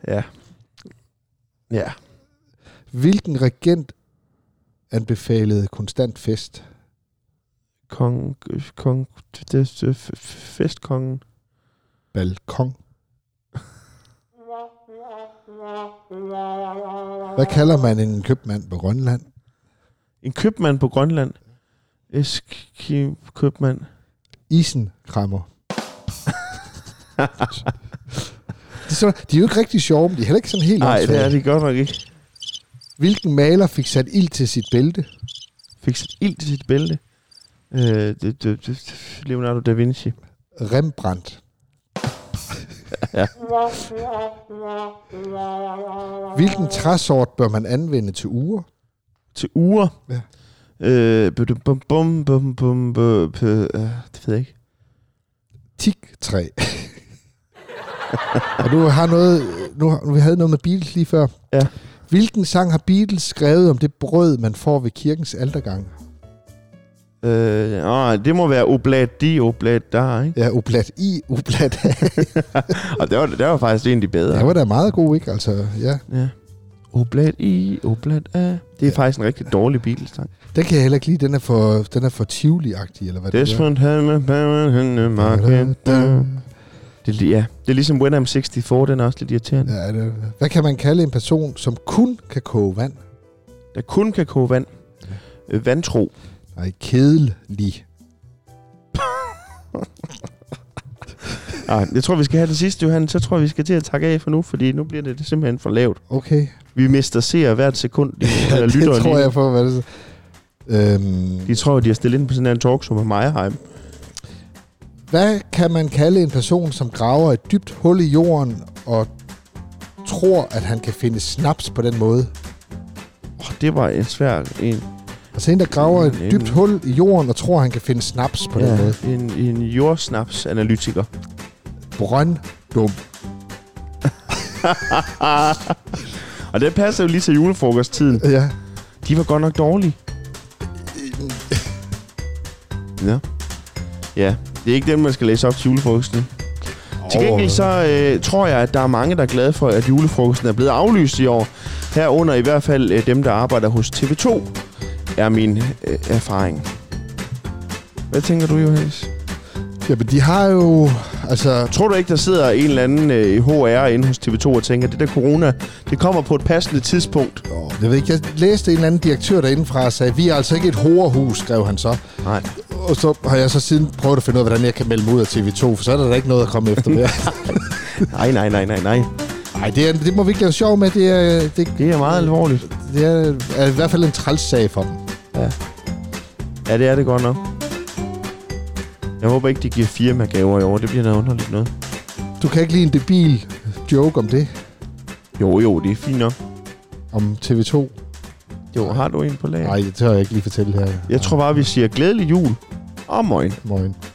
Speaker 1: Ja. Ja.
Speaker 2: Hvilken regent anbefalede konstant fest?
Speaker 1: Kong, øh, kong, det, det, f- f- festkongen.
Speaker 2: Balkon. Hvad kalder man en købmand på Grønland?
Speaker 1: En købmand på Grønland. Eski købmand.
Speaker 2: Isenkrammer. det er sådan, de er jo ikke rigtig sjove, men de er heller ikke sådan helt
Speaker 1: Nej, det
Speaker 2: åndssvage.
Speaker 1: er det godt nok ikke.
Speaker 2: Hvilken maler fik sat ild til sit bælte?
Speaker 1: Fik sat ild til sit bælte. Øh, det, det, det, Leonardo da Vinci.
Speaker 2: Rembrandt. Hvilken træsort bør man anvende til uger?
Speaker 1: Til uger.
Speaker 2: Ja.
Speaker 1: Øh, bum, bum, bum, bum, bum, bum, øh, det ved jeg ikke.
Speaker 2: Tiktræ. Og du har noget, nu, har- nu vi havde noget med Beatles lige før.
Speaker 1: Ja.
Speaker 2: Hvilken sang har Beatles skrevet om det brød, man får ved kirkens altergang?
Speaker 1: Øh, åh, det må være oblat de, oblat der, ikke?
Speaker 2: Ja, Oblat I, Oblat A.
Speaker 1: Og det var, det var faktisk egentlig bedre.
Speaker 2: Det var da meget god, ikke? Altså, ja.
Speaker 1: Ja. Oblat i, oblat af. Det er
Speaker 2: Ja.
Speaker 1: faktisk en rigtig dårlig Beatles-sang.
Speaker 2: Den kan jeg heller ikke lide. Den er for, den er for tivoli-agtig, eller hvad det er.
Speaker 1: Desmond Hammer, Baron, Henne, Market. Det, er li- ja. det er ligesom When I'm 64, den er også lidt irriterende. Ja.
Speaker 2: Ja, det, hvad kan man kalde en person, som kun kan koge vand?
Speaker 1: Der kun kan koge vand. Øh, Vantro.
Speaker 2: Nej, kedelig.
Speaker 1: Ej, Ah, jeg tror, vi skal have den sidste, Johan. Så tror jeg, vi skal til at takke af for nu, fordi nu bliver det simpelthen for lavt.
Speaker 2: Okay.
Speaker 1: Vi mister seer hvert sekund. De, ja,
Speaker 2: Ja,
Speaker 1: eller
Speaker 2: det
Speaker 1: lytter
Speaker 2: tror jeg på, hvad det er. Øhm,
Speaker 1: De tror, de har stillet ind på sådan en talkshow med Meyerheim.
Speaker 2: hvad kan man kalde en person, som graver et dybt hul i jorden og tror, at han kan finde snaps på den måde?
Speaker 1: Oh, det var en svær en.
Speaker 2: Altså en, der
Speaker 1: Mm,
Speaker 2: graver et dybt
Speaker 1: mm.
Speaker 2: hul i jorden og tror, han kan finde snaps på ja. den måde.
Speaker 1: en, en jordsnaps-analytiker.
Speaker 2: Brønddum.
Speaker 1: Og det passer jo lige til julefrokosttiden.
Speaker 2: Ja.
Speaker 1: De var godt nok dårlige. Ja. Ja, det er ikke dem, man skal læse op til julefrokosten. Til gengæld så øh, tror jeg, at der er mange, der er glade for, at julefrokosten er blevet aflyst i år. Herunder i hvert fald øh, dem, der arbejder hos TV2, er min øh, erfaring. Hvad tænker du, Johannes?
Speaker 2: Jamen, de har jo... Altså,
Speaker 1: Tror du ikke, der sidder en eller anden øh, i HR inde hos TV2 og tænker, at det der corona, det kommer på et passende tidspunkt?
Speaker 2: Nå, jeg ved ikke, jeg læste en eller anden direktør derindefra og sagde, vi er altså ikke et horehus, skrev han så.
Speaker 1: Nej.
Speaker 2: Og så har jeg så siden prøvet at finde ud af, hvordan jeg kan melde mig ud af TV2, for så er der da ikke noget at komme efter mere.
Speaker 1: Nej, nej, nej, nej, nej.
Speaker 2: Nej, det, er, det må vi ikke lave sjov med. Det er, det,
Speaker 1: Det er meget alvorligt.
Speaker 2: det er, er i hvert fald en træls sag for dem.
Speaker 1: Ja, det er det godt nok. Jeg håber ikke, de giver firmagaver i år. Det bliver noget underligt noget.
Speaker 2: Du kan ikke lide en debil joke om det,
Speaker 1: Jo, jo, det er fint nok.
Speaker 2: om TV2.
Speaker 1: Jo, har du en på lager?
Speaker 2: Nej, det tør jeg ikke lige fortælle her.
Speaker 1: Jeg tror bare, vi siger glædelig jul. Og morgen.
Speaker 2: Morgen.